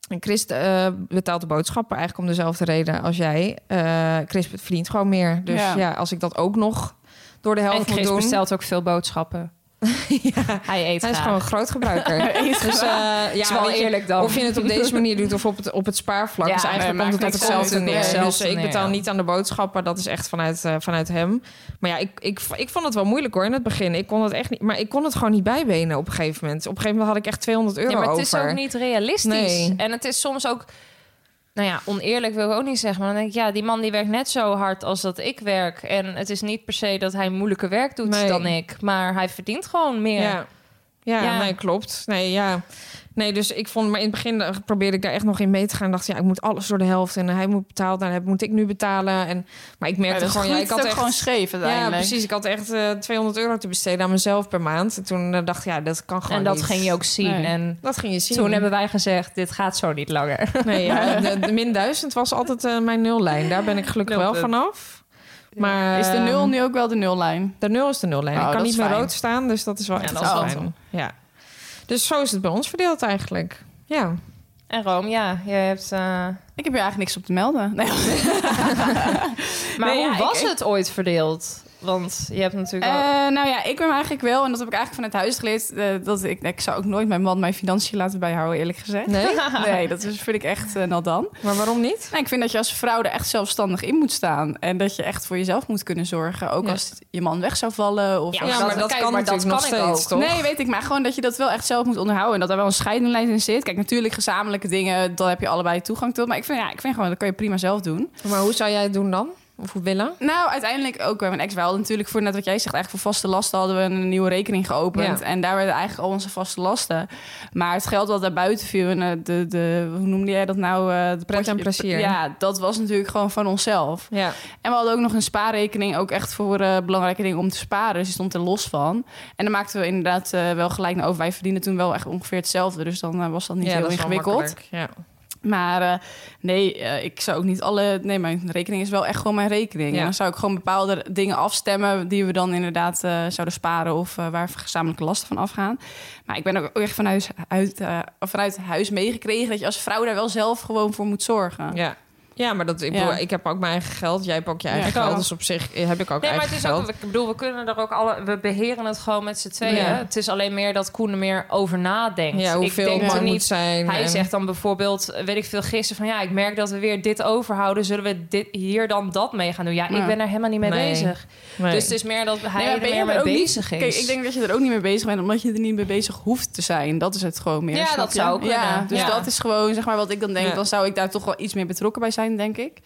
C: En Chris eh, betaalt de boodschappen eigenlijk om dezelfde reden als jij. Eh, Chris verdient gewoon meer. Dus ja.
D: Ja.
C: als ik dat ook nog door de helft
B: en
C: moet
B: Chris
C: doen...
B: bestelt ook veel boodschappen. Hij eet
C: Hij is
B: graag.
C: gewoon een groot gebruiker. dus eh,
B: Ja,
C: ja, weet je,
B: eerlijk dan.
C: of je het op deze manier doet of op het, op het spaarvlak.
B: Ja,
C: dus
D: nee,
C: eigenlijk komt het op
D: maakt niks
C: hetzelfde
D: uit.
C: neer.
D: Het komt op
C: Dus
B: hetzelfde
C: ik betaal
B: neer, ja.
C: niet aan de boodschappen. Dat is echt vanuit, eh, vanuit hem. Maar ja, ik, ik, ik vond het wel moeilijk hoor in het begin. Ik kon het echt niet, maar ik kon het gewoon niet bijbenen op een gegeven moment. Op een gegeven moment had ik echt 200 euro
B: Ja, maar het
C: over.
B: is ook niet realistisch.
C: Nee.
B: En het is soms ook... Nou ja, oneerlijk wil ik ook niet zeggen. Maar dan denk ik, ja, die man die werkt net zo hard als dat ik werk. En het is niet per se dat hij moeilijker werk doet
C: Nee.
B: dan ik. Maar hij verdient gewoon meer.
C: Ja. Ja,
B: Ja.
C: nee, klopt. Nee, ja. Nee, dus ik vond, maar in het begin eh, probeerde ik daar echt nog in mee te gaan. Dacht, ja, ik moet alles door de helft en hij moet betaald, nou, dat moet ik nu betalen. En, maar ik merkte
D: dat
C: gewoon, ja,
D: groeit
C: ik had
D: ook
C: echt,
D: gewoon scheef
C: ja,
D: uiteindelijk.
C: precies. Ik had echt eh, 200 euro te besteden aan mezelf per maand. En toen eh, dacht ik, ja, dat kan gewoon
B: en dat
C: niet.
B: ging je ook zien.
D: Nee.
B: En
C: Dat ging je zien.
B: toen hebben wij gezegd, dit gaat zo niet langer.
C: nee, ja, de, de min 1000 was altijd eh, mijn nullijn. Daar ben ik gelukkig wel
B: Nulpunt.
C: vanaf. Maar eh,
D: Is de nul nu ook wel de nullijn?
C: De nul is de nullijn.
D: Oh,
C: ik kan
D: dat
C: niet
D: is
C: meer
D: fijn.
C: rood staan, dus dat is wel
B: Ja,
C: echt
B: dat
C: wel
B: is wel
C: fijn. Ja. Dus zo is het bij ons verdeeld eigenlijk. Ja.
B: En Rome, ja, je hebt... eh,
D: Ik heb hier eigenlijk niks op te melden. Nee.
B: Maar
D: Nee,
B: hoe
D: ja, ik-
B: was
D: ik-
B: het ooit verdeeld? Want je hebt natuurlijk al...
D: Eh, nou ja, ik ben eigenlijk wel, en dat heb ik eigenlijk vanuit huis geleerd, eh, dat ik, ik zou ook nooit mijn man mijn financiën laten bijhouden, eerlijk gezegd.
C: Nee?
D: Nee, dat is, vind ik echt eh, nat dan.
C: Maar waarom niet?
D: Nou, ik vind dat je als vrouw er echt zelfstandig in moet staan. En dat je echt voor jezelf moet kunnen zorgen. Ook
C: Ja.
D: als je man weg zou vallen. Of
B: Ja, maar
D: als-
B: dat- kijk, maar dat kan ik ook.
D: Nee, weet ik. Maar gewoon dat je dat wel echt zelf moet onderhouden. En dat daar wel een scheidinglijst in zit. Kijk, natuurlijk gezamenlijke dingen, daar heb je allebei toegang tot. Maar ik vind, ja, ik vind gewoon, dat kan je prima zelf doen.
C: Maar hoe zou jij het doen dan? Of hoe willen?
D: Nou, uiteindelijk ook bij mijn ex. We hadden natuurlijk voor, net wat jij zegt, eigenlijk voor vaste lasten hadden we een nieuwe rekening geopend.
C: Ja.
D: En daar werden eigenlijk al onze vaste lasten. Maar het geld wat daar buiten viel, en eh, de, de, hoe noemde jij dat nou? eh, de
C: Pret en
D: potje-
C: plezier.
D: Ja, dat was natuurlijk gewoon van onszelf.
C: Ja.
D: En we hadden ook nog een spaarrekening, ook echt voor eh, belangrijke dingen om te sparen. Dus die stond er los van. En daar maakten we inderdaad eh, wel gelijk naar over. Wij verdienden toen wel echt ongeveer hetzelfde. Dus dan eh, was dat niet heel ingewikkeld.
C: Ja.
D: Maar eh, nee, eh, ik zou ook niet alle. Nee, mijn rekening is wel echt gewoon mijn rekening.
C: Ja.
D: En dan zou ik gewoon bepaalde dingen afstemmen die we dan inderdaad eh, zouden sparen of eh, waar gezamenlijke lasten van afgaan. Maar ik ben ook echt vanuit, uit, eh, vanuit huis meegekregen dat je als vrouw daar wel zelf gewoon voor moet zorgen.
C: Ja. ja, maar dat, ik,
D: Ja.
C: bedoel, ik heb ook mijn eigen geld. Jij hebt ook je eigen
D: ik
C: geld.
D: ook.
C: Dus op zich heb ik ook
B: Nee, maar
C: eigen
B: het is
C: geld.
B: ook, ik bedoel, we kunnen er ook alle, we beheren het gewoon met z'n tweeën.
C: Ja.
B: Het is alleen meer dat Koen er meer over nadenkt.
C: ja, hoeveel
B: ik denk
C: het
B: er
C: maar
B: niet
C: moet zijn.
B: Hij
C: en-
B: zegt dan bijvoorbeeld, weet ik veel, gisteren van ja, ik merk dat we weer dit overhouden. Zullen we dit, hier dan dat mee gaan doen? Ja, ik
D: Ja.
B: ben er helemaal niet mee
C: Nee.
B: bezig.
C: Nee.
B: Dus het is meer dat hij
D: maar
B: er
D: Nou ben je
B: meer
D: er
B: mee
D: ook niet-
B: bezig is.
D: Kijk, ik denk dat je er ook niet mee bezig bent, omdat je er niet mee bezig hoeft te zijn. Dat is het gewoon meer.
B: Ja,
D: snap
B: dat
D: je?
B: zou ook kunnen.
D: Ja, dus
B: Ja.
D: dat is gewoon zeg maar wat ik dan denk.
C: Ja.
D: Dan zou ik daar toch wel iets meer betrokken bij zijn, denk ik.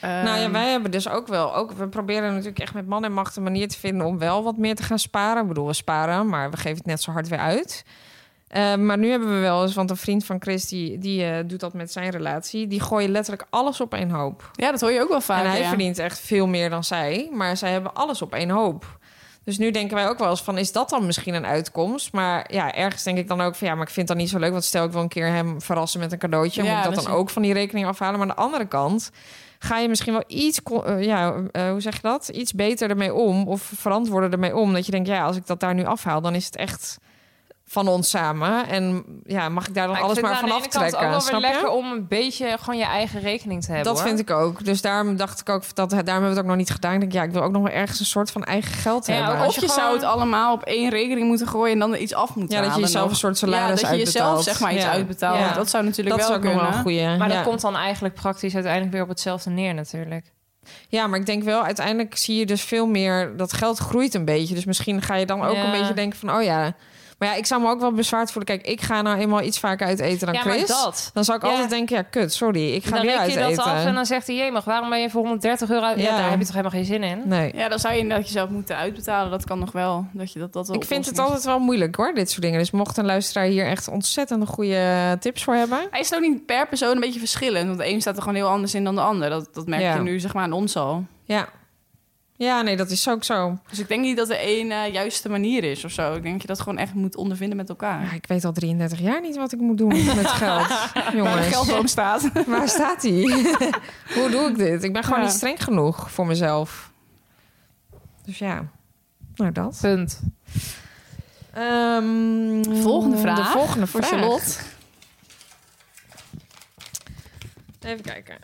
C: nou
D: Ehm.
C: ja, wij hebben dus ook wel. Ook, we proberen natuurlijk echt met man en macht een manier te vinden om wel wat meer te gaan sparen. Ik bedoel, we sparen, maar we geven het net zo hard weer uit. Eh, maar nu hebben we wel eens, want een vriend van Chris die, die eh, doet dat met zijn relatie. Die gooien letterlijk alles op één hoop.
D: Ja, dat hoor je ook wel vaak.
C: en hij
D: ja.
C: verdient echt veel meer dan zij. Maar zij hebben alles op één hoop. Dus nu denken wij ook wel eens van, is dat dan misschien een uitkomst? Maar ja, ergens denk ik dan ook van, ja, maar ik vind dat niet zo leuk. Want stel ik wil een keer hem verrassen met een cadeautje.
D: Ja,
C: moet ik dat
D: dat
C: dan
D: is-
C: ook van die rekening afhalen? Maar aan de andere kant ga je misschien wel iets, co- eh, ja, eh, hoe zeg je dat? Iets beter ermee om of verantwoorden ermee om. Dat je denkt, ja, als ik dat daar nu afhaal, dan is het echt van ons samen. En ja, mag ik daar dan
B: Maar ik
C: alles
B: vind het
C: maar van
B: aan de ene kant
C: aftrekken?
B: ook wel
C: snap
B: weer
C: je?
B: lekker om een beetje gewoon je eigen rekening te hebben.
C: Dat vind ik ook. Dus daarom dacht ik ook dat daarom hebben we het ook nog niet gedaan. Ik denk, ja, ik wil ook nog wel ergens een soort van eigen geld
B: Ja,
C: hebben.
B: ook als
D: Of
B: je
D: je,
B: gewoon-
D: zou het allemaal op één rekening moeten gooien en dan er iets af moeten
C: ja, dat je
D: halen
C: jezelf
D: nog.
C: een soort salaris
D: Ja, dat je
C: uitbetaalt.
D: jezelf zeg maar iets
C: Ja.
D: uitbetaalt.
C: Ja.
D: Dat zou natuurlijk
C: Dat is
D: wel
C: ook nog
D: kunnen.
C: wel een goeie.
B: Maar
C: ja.
B: dat komt dan eigenlijk praktisch uiteindelijk weer op hetzelfde neer natuurlijk.
C: ja, maar ik denk wel, uiteindelijk zie je dus veel meer... dat geld groeit een beetje. Dus misschien ga je dan ook
B: Ja.
C: een beetje denken van... oh ja, maar ja, ik zou me ook wel bezwaard voelen. Kijk, ik ga nou eenmaal iets vaker uit eten dan
B: ja, maar
C: Chris.
B: dat.
C: Dan zou ik
B: Ja.
C: altijd denken, ja, kut, sorry, ik ga
B: dan
C: weer
B: reken
C: uit
B: je dat
C: eten.
B: af en dan zegt hij, jemig, waarom ben je voor 130 euro... Ja,
C: Ja.
B: daar heb je toch helemaal geen zin in?
C: Nee.
D: Ja, dan zou je inderdaad jezelf moeten uitbetalen. Dat kan nog wel. Dat je dat, dat
C: Ik vind het
D: al
C: altijd wel moeilijk hoor, dit soort dingen. Dus mocht een luisteraar hier echt ontzettend goede tips voor hebben.
D: Hij is ook niet per persoon een beetje verschillend. Want de een staat er gewoon heel anders in dan de ander. Dat, dat merk
C: Ja.
D: je nu zeg maar aan ons al.
C: Ja. Ja, nee, dat is ook zo.
D: Dus ik denk niet dat de een eh, juiste manier is of zo. Ik denk dat je dat gewoon echt moet ondervinden met
C: Maar
D: elkaar.
C: Ah, ik weet al 33 jaar niet wat ik moet doen met geld.
D: Waar de
C: Jongens,
D: geldboom staat.
C: waar staat die? Hoe doe ik dit? Ik ben gewoon
D: Ja.
C: niet streng genoeg voor mezelf. Dus ja, nou dat.
B: Punt.
C: Ehm,
D: Volgende vraag
C: De volgende
D: voor
C: vraag.
D: Charlotte.
C: Even kijken.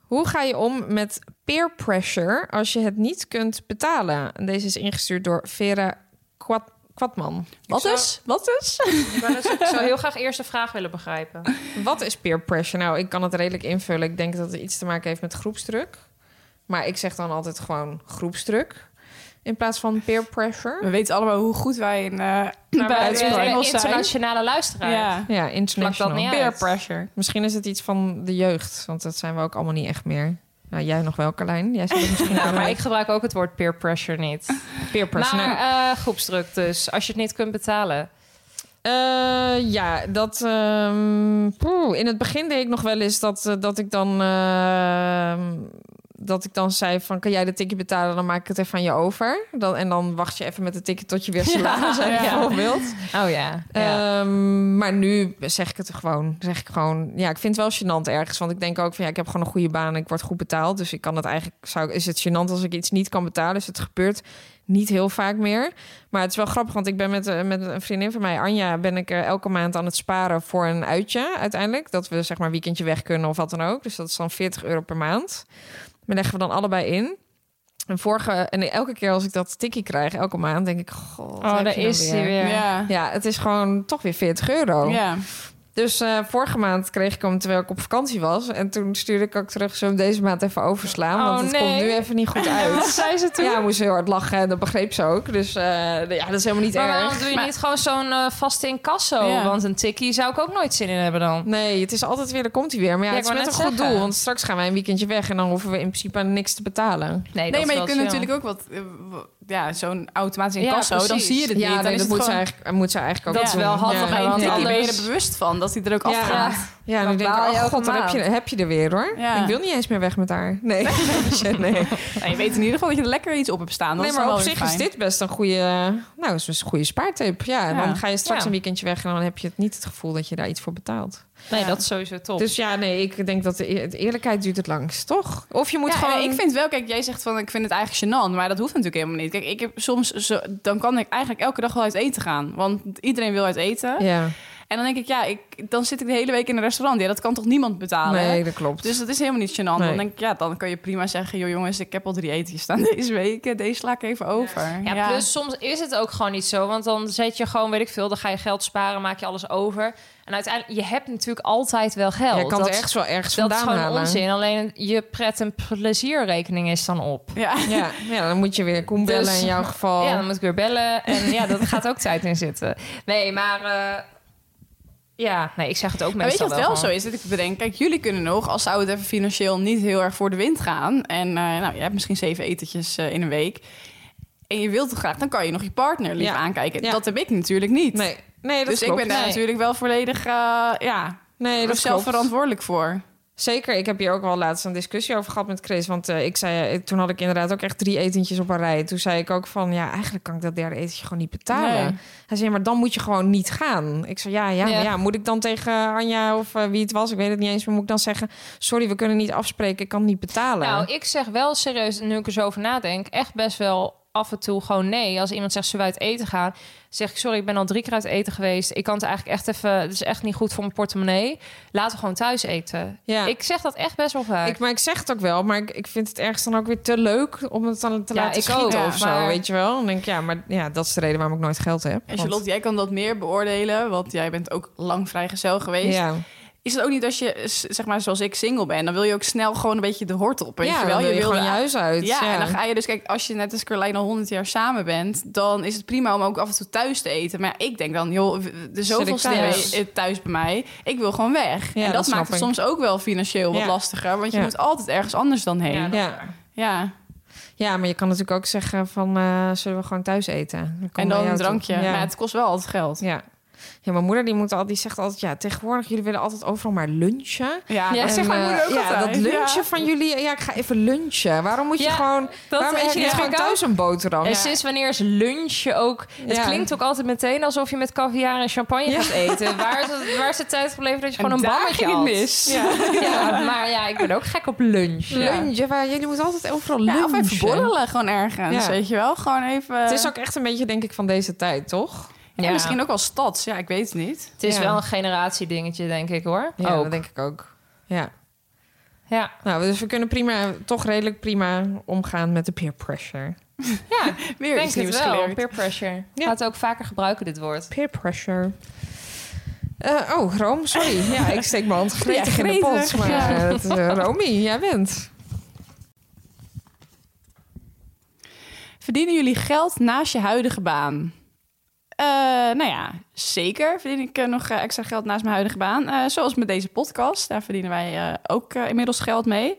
C: Hoe ga je om met peer pressure als je het niet kunt betalen? En Deze is ingestuurd door Vera Kwad- Kwadman.
D: Wat
B: zou-
D: is? Wat is?
B: Ik wou dus- ik zou heel graag eerst de vraag willen begrijpen.
C: Wat is peer pressure? Nou, ik kan het redelijk invullen. Ik denk dat het iets te maken heeft met groepsdruk. Maar ik zeg dan altijd gewoon groepsdruk. In plaats van peer pressure.
D: We weten allemaal hoe goed wij in eh,
B: Maar wij
D: bij
C: het
B: zijn
D: Engels zijn.
B: internationale luisteraar.
D: Ja.
B: Maakt
C: Ja,
B: dat niet
C: international.
B: uit.
D: Peer pressure.
C: Misschien is het iets van de jeugd. Want dat zijn we ook allemaal niet echt meer. Nou, jij nog wel, Carlijn. Jij zit er misschien
B: Nou,
C: wel
B: maar
C: mee.
B: ik gebruik ook het woord peer pressure niet.
C: peer pressure.
B: Maar
C: Nou,
B: eh, groepsdruk dus, als je het niet kunt betalen.
C: Eh, ja, dat. ehm, poeh, in het begin deed ik nog wel eens dat, eh, dat ik dan. ehm, dat ik dan zei van, kan jij de ticket betalen? Dan maak ik het even aan je over. Dan, en dan wacht je even met de ticket tot je weer salaris hebt,
D: ja.
C: bijvoorbeeld.
B: Oh ja.
C: Ehm, maar nu zeg ik het gewoon. Zeg ik gewoon. Ja, ik vind het wel gênant ergens. Want ik denk ook van ja, ik heb gewoon een goede baan en ik word goed betaald. Dus ik kan het eigenlijk. Zou, is het gênant als ik iets niet kan betalen? Dus het gebeurt niet heel vaak meer. Maar het is wel grappig, want ik ben met, eh, met een vriendin van mij, Anja, ben ik eh, elke maand aan het sparen voor een uitje uiteindelijk. Dat we zeg maar een weekendje weg kunnen of wat dan ook. Dus dat is dan 40 euro per maand. Maar leggen we dan allebei in. En vorige, en elke keer als ik dat tikkie krijg, elke maand, denk ik, god, wat
B: Oh,
C: heb
B: daar
C: je nou
B: is hij weer.
D: Ja.
C: Ja, Oh. het is gewoon toch weer 40 euro.
D: Ah. Ja.
C: Dus eh, vorige maand kreeg ik hem terwijl ik op vakantie was. En toen stuurde ik ook terug, zo deze maand even overslaan.
B: Oh,
C: want het
B: nee.
C: komt nu even niet goed uit.
B: Wat zei ze toen?
C: Ja, ik moest heel hard lachen en dat begreep ze ook. Dus eh, ja, dat is helemaal niet
B: maar
C: erg.
B: waarom doe je
D: Maar-
B: niet gewoon zo'n eh, vaste incasso?
D: Ja.
B: Want een tikkie zou ik ook nooit zin in hebben dan.
C: Nee, het is altijd weer, daar komt hij weer. Maar ja,
B: Ja, ik
C: het is
B: wou
C: met een
B: net
C: goed
B: zeggen.
C: doel. Want straks gaan wij een weekendje weg en dan hoeven we in principe aan niks te betalen.
D: Nee, maar je kunt natuurlijk ook wat... eh, w- Ja, zo'n automatische incasso,
B: Ja,
D: dan
B: precies.
D: zie je het
C: ja,
D: niet. Dan
C: nee,
D: is
C: dat
D: het
C: moet, ze
D: gewoon-
C: eigenlijk, moet ze eigenlijk ook
B: Dat is
C: doen.
B: wel handig,
C: Ja,
B: maar
D: Bij een
B: want
D: tikkie ben je
B: anders-
D: er bewust van, dat hij er ook
C: Ja.
D: afgaat.
C: ja nu
B: Dan
C: denk ik,
B: baal je
C: oh
B: elke
C: god, dan heb
B: maand.
C: je, heb je er weer hoor.
D: Ja.
C: Ik wil niet eens meer weg met haar. Nee, Shit, nee.
D: Nou, je weet in ieder geval dat je er lekker iets op hebt staan. Dat
C: nee
D: is
C: maar
D: dan
C: op
D: wel
C: zich
D: weer
C: is
D: fijn.
C: dit best een goede, eh, nou, is dus een goede spaartip. Ja, en
D: Ja.
C: dan ga je straks
B: Ja.
C: een weekendje weg en dan heb je het niet het gevoel dat je daar iets voor betaalt.
B: Nee,
D: Ja.
B: dat is sowieso top.
C: Dus ja, nee, ik denk dat de, e- de eerlijkheid duurt het langst, toch? Of je moet
D: Ja,
C: gewoon...
D: nee, ik vind wel, kijk, jij zegt van ik vind het eigenlijk gênant, maar dat hoeft natuurlijk helemaal niet. Kijk, ik heb soms, zo, dan kan ik eigenlijk elke dag wel uit eten gaan, want iedereen wil uit eten.
C: Ja,
D: En dan denk ik, ja, ik, dan zit ik de hele week in een restaurant. Ja, dat kan toch niemand betalen?
C: nee, dat klopt.
D: Dus dat is helemaal niet gênant. Dan
C: Nee.
D: denk ik, ja, dan kan je prima zeggen, joh jongens, ik heb al drie etentjes staan deze week. Eh, Deze sla ik even over.
B: Ja, plus soms is het ook gewoon niet zo. Want dan zet je gewoon, weet ik veel, dan ga je geld sparen, maak je alles over. En uiteindelijk, je hebt natuurlijk altijd wel geld.
C: Ja, je kan
B: dat,
C: het ergens wel ergens
B: dat is
C: vandaan
B: gewoon
C: halen.
B: onzin. Alleen je pret- en plezierrekening is dan op.
D: Ja.
C: Ja, ja, dan moet je weer Koen bellen
B: Dus-
C: in jouw geval.
B: Ja, dan moet ik weer bellen. En ja, dat gaat ook tijd in zitten. Nee, maar... eh, ja, nee, ik zeg het ook
D: Maar weet je
B: meestal
D: wat wel zo
B: gewoon.
D: is? Dat ik bedenk, kijk, jullie kunnen nog, als zou het even financieel niet heel erg voor de wind gaan. En eh, nou, je hebt misschien zeven etentjes eh, in een week. En je wilt het graag, dan kan je nog je partner lief
C: Ja.
D: aankijken.
C: Ja.
D: Dat heb ik natuurlijk niet.
C: Nee, nee, dat
D: dus ik
C: klopt.
D: ben daar
B: Nee.
D: natuurlijk wel volledig eh, ja,
C: Nee, dat
D: zelf
C: klopt.
D: verantwoordelijk voor.
C: Zeker, ik heb hier ook wel laatst een discussie over gehad met Chris. Want eh, ik zei, eh, toen had ik inderdaad ook echt drie etentjes op een rij. Toen zei ik ook van, ja, eigenlijk kan ik dat derde etentje gewoon niet betalen.
D: Nee.
C: Hij zei, maar dan moet je gewoon niet gaan. Ik zei, ja, ja,
B: Ja.
C: maar ja, moet ik dan tegen Anja of eh, wie het was, ik weet het niet eens, maar moet ik dan zeggen, sorry, we kunnen niet afspreken, ik kan het niet betalen.
B: Nou, ik zeg wel serieus, nu ik er zo over nadenk, echt best wel af en toe gewoon nee. Als iemand zegt, zullen we uit eten gaan? zeg ik, sorry, ik ben al drie keer uit eten geweest. Ik kan het eigenlijk echt even, het is echt niet goed voor mijn portemonnee. Laten we gewoon thuis eten.
C: ja.
B: Ik zeg dat echt best wel vaak.
C: Ik, maar ik zeg het ook wel, maar ik, ik vind het ergens dan ook weer te leuk om het dan te
B: Ja,
C: laten
B: ik
C: schieten
B: ook,
C: of zo,
B: maar-
C: weet je wel. Dan denk ik, ja, maar ja, dat is de reden waarom ik nooit geld heb.
D: En
C: want-
D: Charlotte, jij kan dat meer beoordelen, want jij bent ook lang vrijgezel geweest.
C: ja.
D: Is het ook niet als je, s- zeg maar, zoals ik single ben, dan wil je ook snel gewoon een beetje de hort op, weet
C: ja,
D: je wel?
C: dan wil je,
D: wil
C: gewoon
D: de-
C: je huis uit.
D: Ja, en dan ga je dus, kijk, als je net als Carlijn al 100 jaar samen bent, dan is het prima om ook af en toe thuis te eten. Maar ja, ik denk dan, joh, de zoveelste
C: thuis?
D: thuis. thuis bij mij, ik wil gewoon weg.
C: Ja, dat
D: en dat, maakt
C: snap
D: het
C: ik.
D: soms ook wel financieel wat
C: Ja.
D: lastiger, want je
C: Ja.
D: moet altijd ergens anders dan heen. Ja,
C: ja. ja, maar je kan natuurlijk ook zeggen van, eh, zullen we gewoon thuis eten? Dan kom
D: en
C: bij
D: dan
C: jou
D: een
C: toe.
D: drankje.
C: Ja.
D: Maar het kost wel altijd geld.
C: ja. Ja, mijn moeder die, moet al, die zegt altijd, ja, tegenwoordig, jullie willen altijd overal maar lunchen.
D: Ja,
B: Ja,
D: dat
B: en,
D: zegt mijn
C: eh,
D: moeder ook
C: ja,
D: altijd.
C: dat lunchen
D: Ja.
C: van jullie. Ja, ik ga even lunchen. Waarom moet je
B: Ja,
C: gewoon... waarom eet je
B: herken
C: niet gewoon
B: ik ook.
C: thuis een boterham?
B: eh, En sinds wanneer is lunchen ook... Het
C: Ja.
B: klinkt ook altijd meteen alsof je met caviar en champagne
C: Ja.
B: gaat eten. Waar is, het, waar is de tijd gebleven dat je gewoon een
D: daar
B: bammetje
D: ging het
B: had?
D: mis.
B: Ja, maar ja, ik ben ook gek op lunch.
C: Lunchen, waar, jullie moeten altijd overal
D: Ja,
C: lunchen.
D: of even borrelen gewoon ergens,
C: Ja.
D: weet je wel. Gewoon even...
C: Het is ook echt een beetje, denk ik, van deze tijd, toch?
D: en
B: Ja.
D: misschien ook wel stads, ja, ik weet het niet.
B: Het is
C: Ja.
B: wel een generatie dingetje, denk ik hoor.
C: Ja,
B: ook.
C: dat denk ik ook. Ja.
B: Ja.
C: Nou, dus we kunnen prima, toch redelijk prima omgaan met de peer pressure.
B: Ja,
D: Weer
B: ik denk
D: iets
B: het
D: nieuws
B: wel.
D: geleerd.
B: Peer pressure.
C: Ja.
B: Gaat ook vaker gebruiken, dit woord.
C: Peer pressure. Eh, oh, Rome, sorry. Ja, ik steek mijn hand gretig
D: Ja,
C: in de pot.
D: gretig.
C: Maar
D: Ja.
C: eh, het is, eh, Romy, jij bent.
D: Verdienen jullie geld naast je huidige baan? Eh, nou ja, zeker verdien ik eh, nog eh, extra geld naast mijn huidige baan. Eh, zoals met deze podcast, daar verdienen wij eh, ook eh, inmiddels geld mee.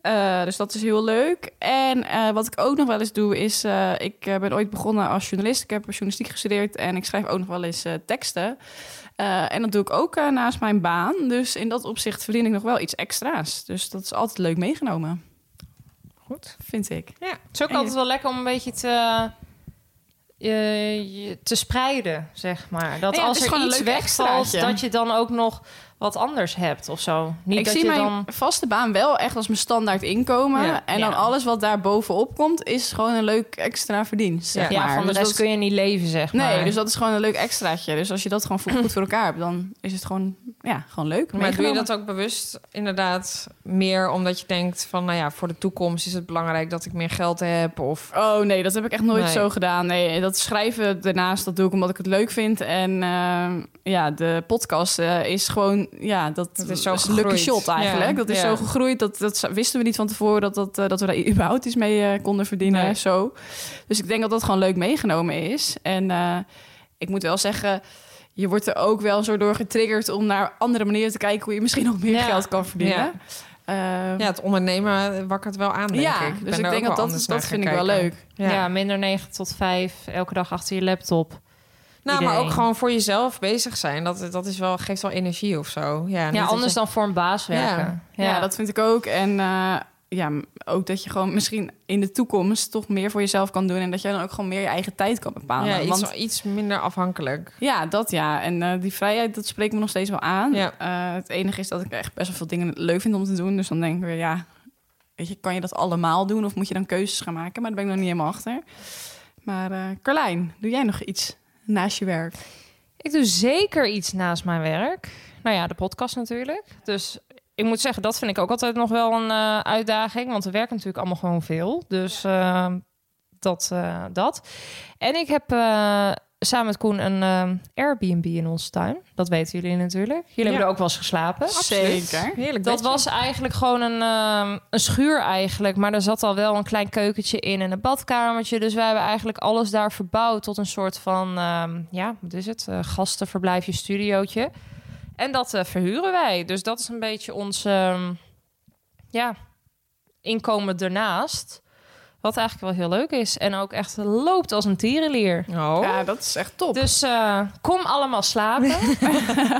D: Eh, dus dat is heel leuk. En eh, wat ik ook nog wel eens doe, is... eh, ik eh, ben ooit begonnen als journalist. Ik heb journalistiek gestudeerd en ik schrijf ook nog wel eens eh, teksten. Eh, en dat doe ik ook eh, naast mijn baan. Dus in dat opzicht verdien ik nog wel iets extra's. Dus dat is altijd leuk meegenomen,
C: Goed.
D: vind ik.
C: Ja.
B: Het is ook
D: En je-
B: altijd wel lekker om een beetje te, eh, je- te spreiden, zeg maar. Dat
D: Ja, het
B: als
D: is
B: er
D: gewoon een
B: iets
D: leuk
B: wegvalt,
D: extraatje.
B: dat je dan ook nog wat anders hebt of zo. Niet
D: ik
B: dat
D: zie
B: je
D: mijn
B: dan...
D: vaste baan wel echt als mijn standaard inkomen.
C: Ja,
D: en
B: ja.
D: dan alles wat daar bovenop komt, is gewoon een leuk extra verdienst.
C: Ja,
D: Zeg
B: ja,
D: maar.
B: van de
D: Dus
B: rest
D: dat-
B: kun je niet leven, zeg maar.
D: Dus Nee, dus dat is gewoon een leuk extraatje. Dus als je dat gewoon goed voor elkaar hebt, dan is het gewoon ja, gewoon leuk.
C: Maar doe je dat ook bewust inderdaad meer omdat je denkt van... nou ja, voor de toekomst is het belangrijk dat ik meer geld heb of...
D: Oh nee, dat heb ik echt nooit
C: Nee.
D: zo gedaan. Nee, dat schrijven daarnaast, dat doe ik omdat ik het leuk vind. En eh, ja, de podcast eh, is gewoon, ja, dat,
C: Dat is zo
D: een lucky
C: gegroeid.
D: shot eigenlijk.
C: Ja,
D: Dat is
C: ja.
D: zo gegroeid, dat, dat wisten we niet van tevoren... dat, dat, eh, dat we daar überhaupt iets mee eh, konden verdienen,
C: Nee.
D: zo. Dus ik denk dat dat gewoon leuk meegenomen is. En eh, ik moet wel zeggen... Je wordt er ook wel zo door getriggerd om naar andere manieren te kijken hoe je misschien nog meer
C: Ja.
D: geld kan verdienen.
C: Ja.
D: Eh,
C: Ja, het ondernemen wakkert wel aan, denk
D: ja,
C: ik. ben
D: dus
C: er
D: ik
C: ook
D: denk
C: wel
D: dat dat,
C: anders
D: dat
C: naar
D: vind ik
C: gaan
D: wel
C: kijken.
D: leuk.
B: Ja. minder 9 tot 5, elke dag achter je laptop.
C: Nou, maar
B: Iedereen.
C: ook gewoon voor jezelf bezig zijn. Dat, dat is wel, geeft wel energie of zo. Ja, niet
B: ja,
C: dat
B: anders
C: je-
B: dan voor een baas werken.
D: Ja, dat vind ik ook. En eh, ja, m- ook dat je gewoon misschien in de toekomst toch meer voor jezelf kan doen. En dat jij dan ook gewoon meer je eigen tijd kan bepalen.
C: ja, iets,
D: Want
C: iets minder afhankelijk.
D: ja, dat ja. En eh, die vrijheid, dat spreekt me nog steeds wel aan.
C: Ja.
D: Eh, het enige is dat ik echt best wel veel dingen leuk vind om te doen. Dus dan denk ik weer, ja, weet je, kan je dat allemaal doen? Of moet je dan keuzes gaan maken? Maar daar ben ik nog niet helemaal achter. Maar eh Carlijn, doe jij nog iets naast je werk?
B: Ik doe zeker iets naast mijn werk. Nou ja, de podcast natuurlijk. Dus ik moet zeggen, dat vind ik ook altijd nog wel een eh, uitdaging. Want we werken natuurlijk allemaal gewoon veel. Dus eh, dat, eh, dat. En ik heb eh, samen met Koen een eh, Airbnb in onze tuin. Dat weten jullie natuurlijk. Jullie hebben er ook wel eens geslapen.
D: Zeker.
C: Heerlijk.
B: Dat was eigenlijk gewoon een, ehm, een schuur eigenlijk. Maar er zat al wel een klein keukentje in en een badkamertje. Dus wij hebben eigenlijk alles daar verbouwd tot een soort van... ehm, ja, wat is het? Eh, gastenverblijfje, studiootje. En dat eh, verhuren wij. Dus dat is een beetje ons ehm, ja, inkomen daarnaast. Wat eigenlijk wel heel leuk is. En ook echt loopt als een tierenlier.
C: Oh.
D: Ja, dat is echt top.
B: Dus eh, kom allemaal slapen.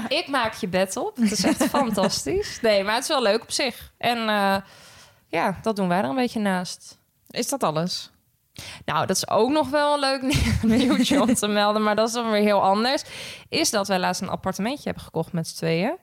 B: ik maak je bed op. Het is echt fantastisch. Nee, maar het is wel leuk op zich. En eh, ja, dat doen wij er een beetje naast.
C: Is dat alles?
B: Nou, dat is ook nog wel een leuk nieuwtje om te melden. Maar dat is dan weer heel anders. Is dat wij laatst een appartementje hebben gekocht met z'n tweeën.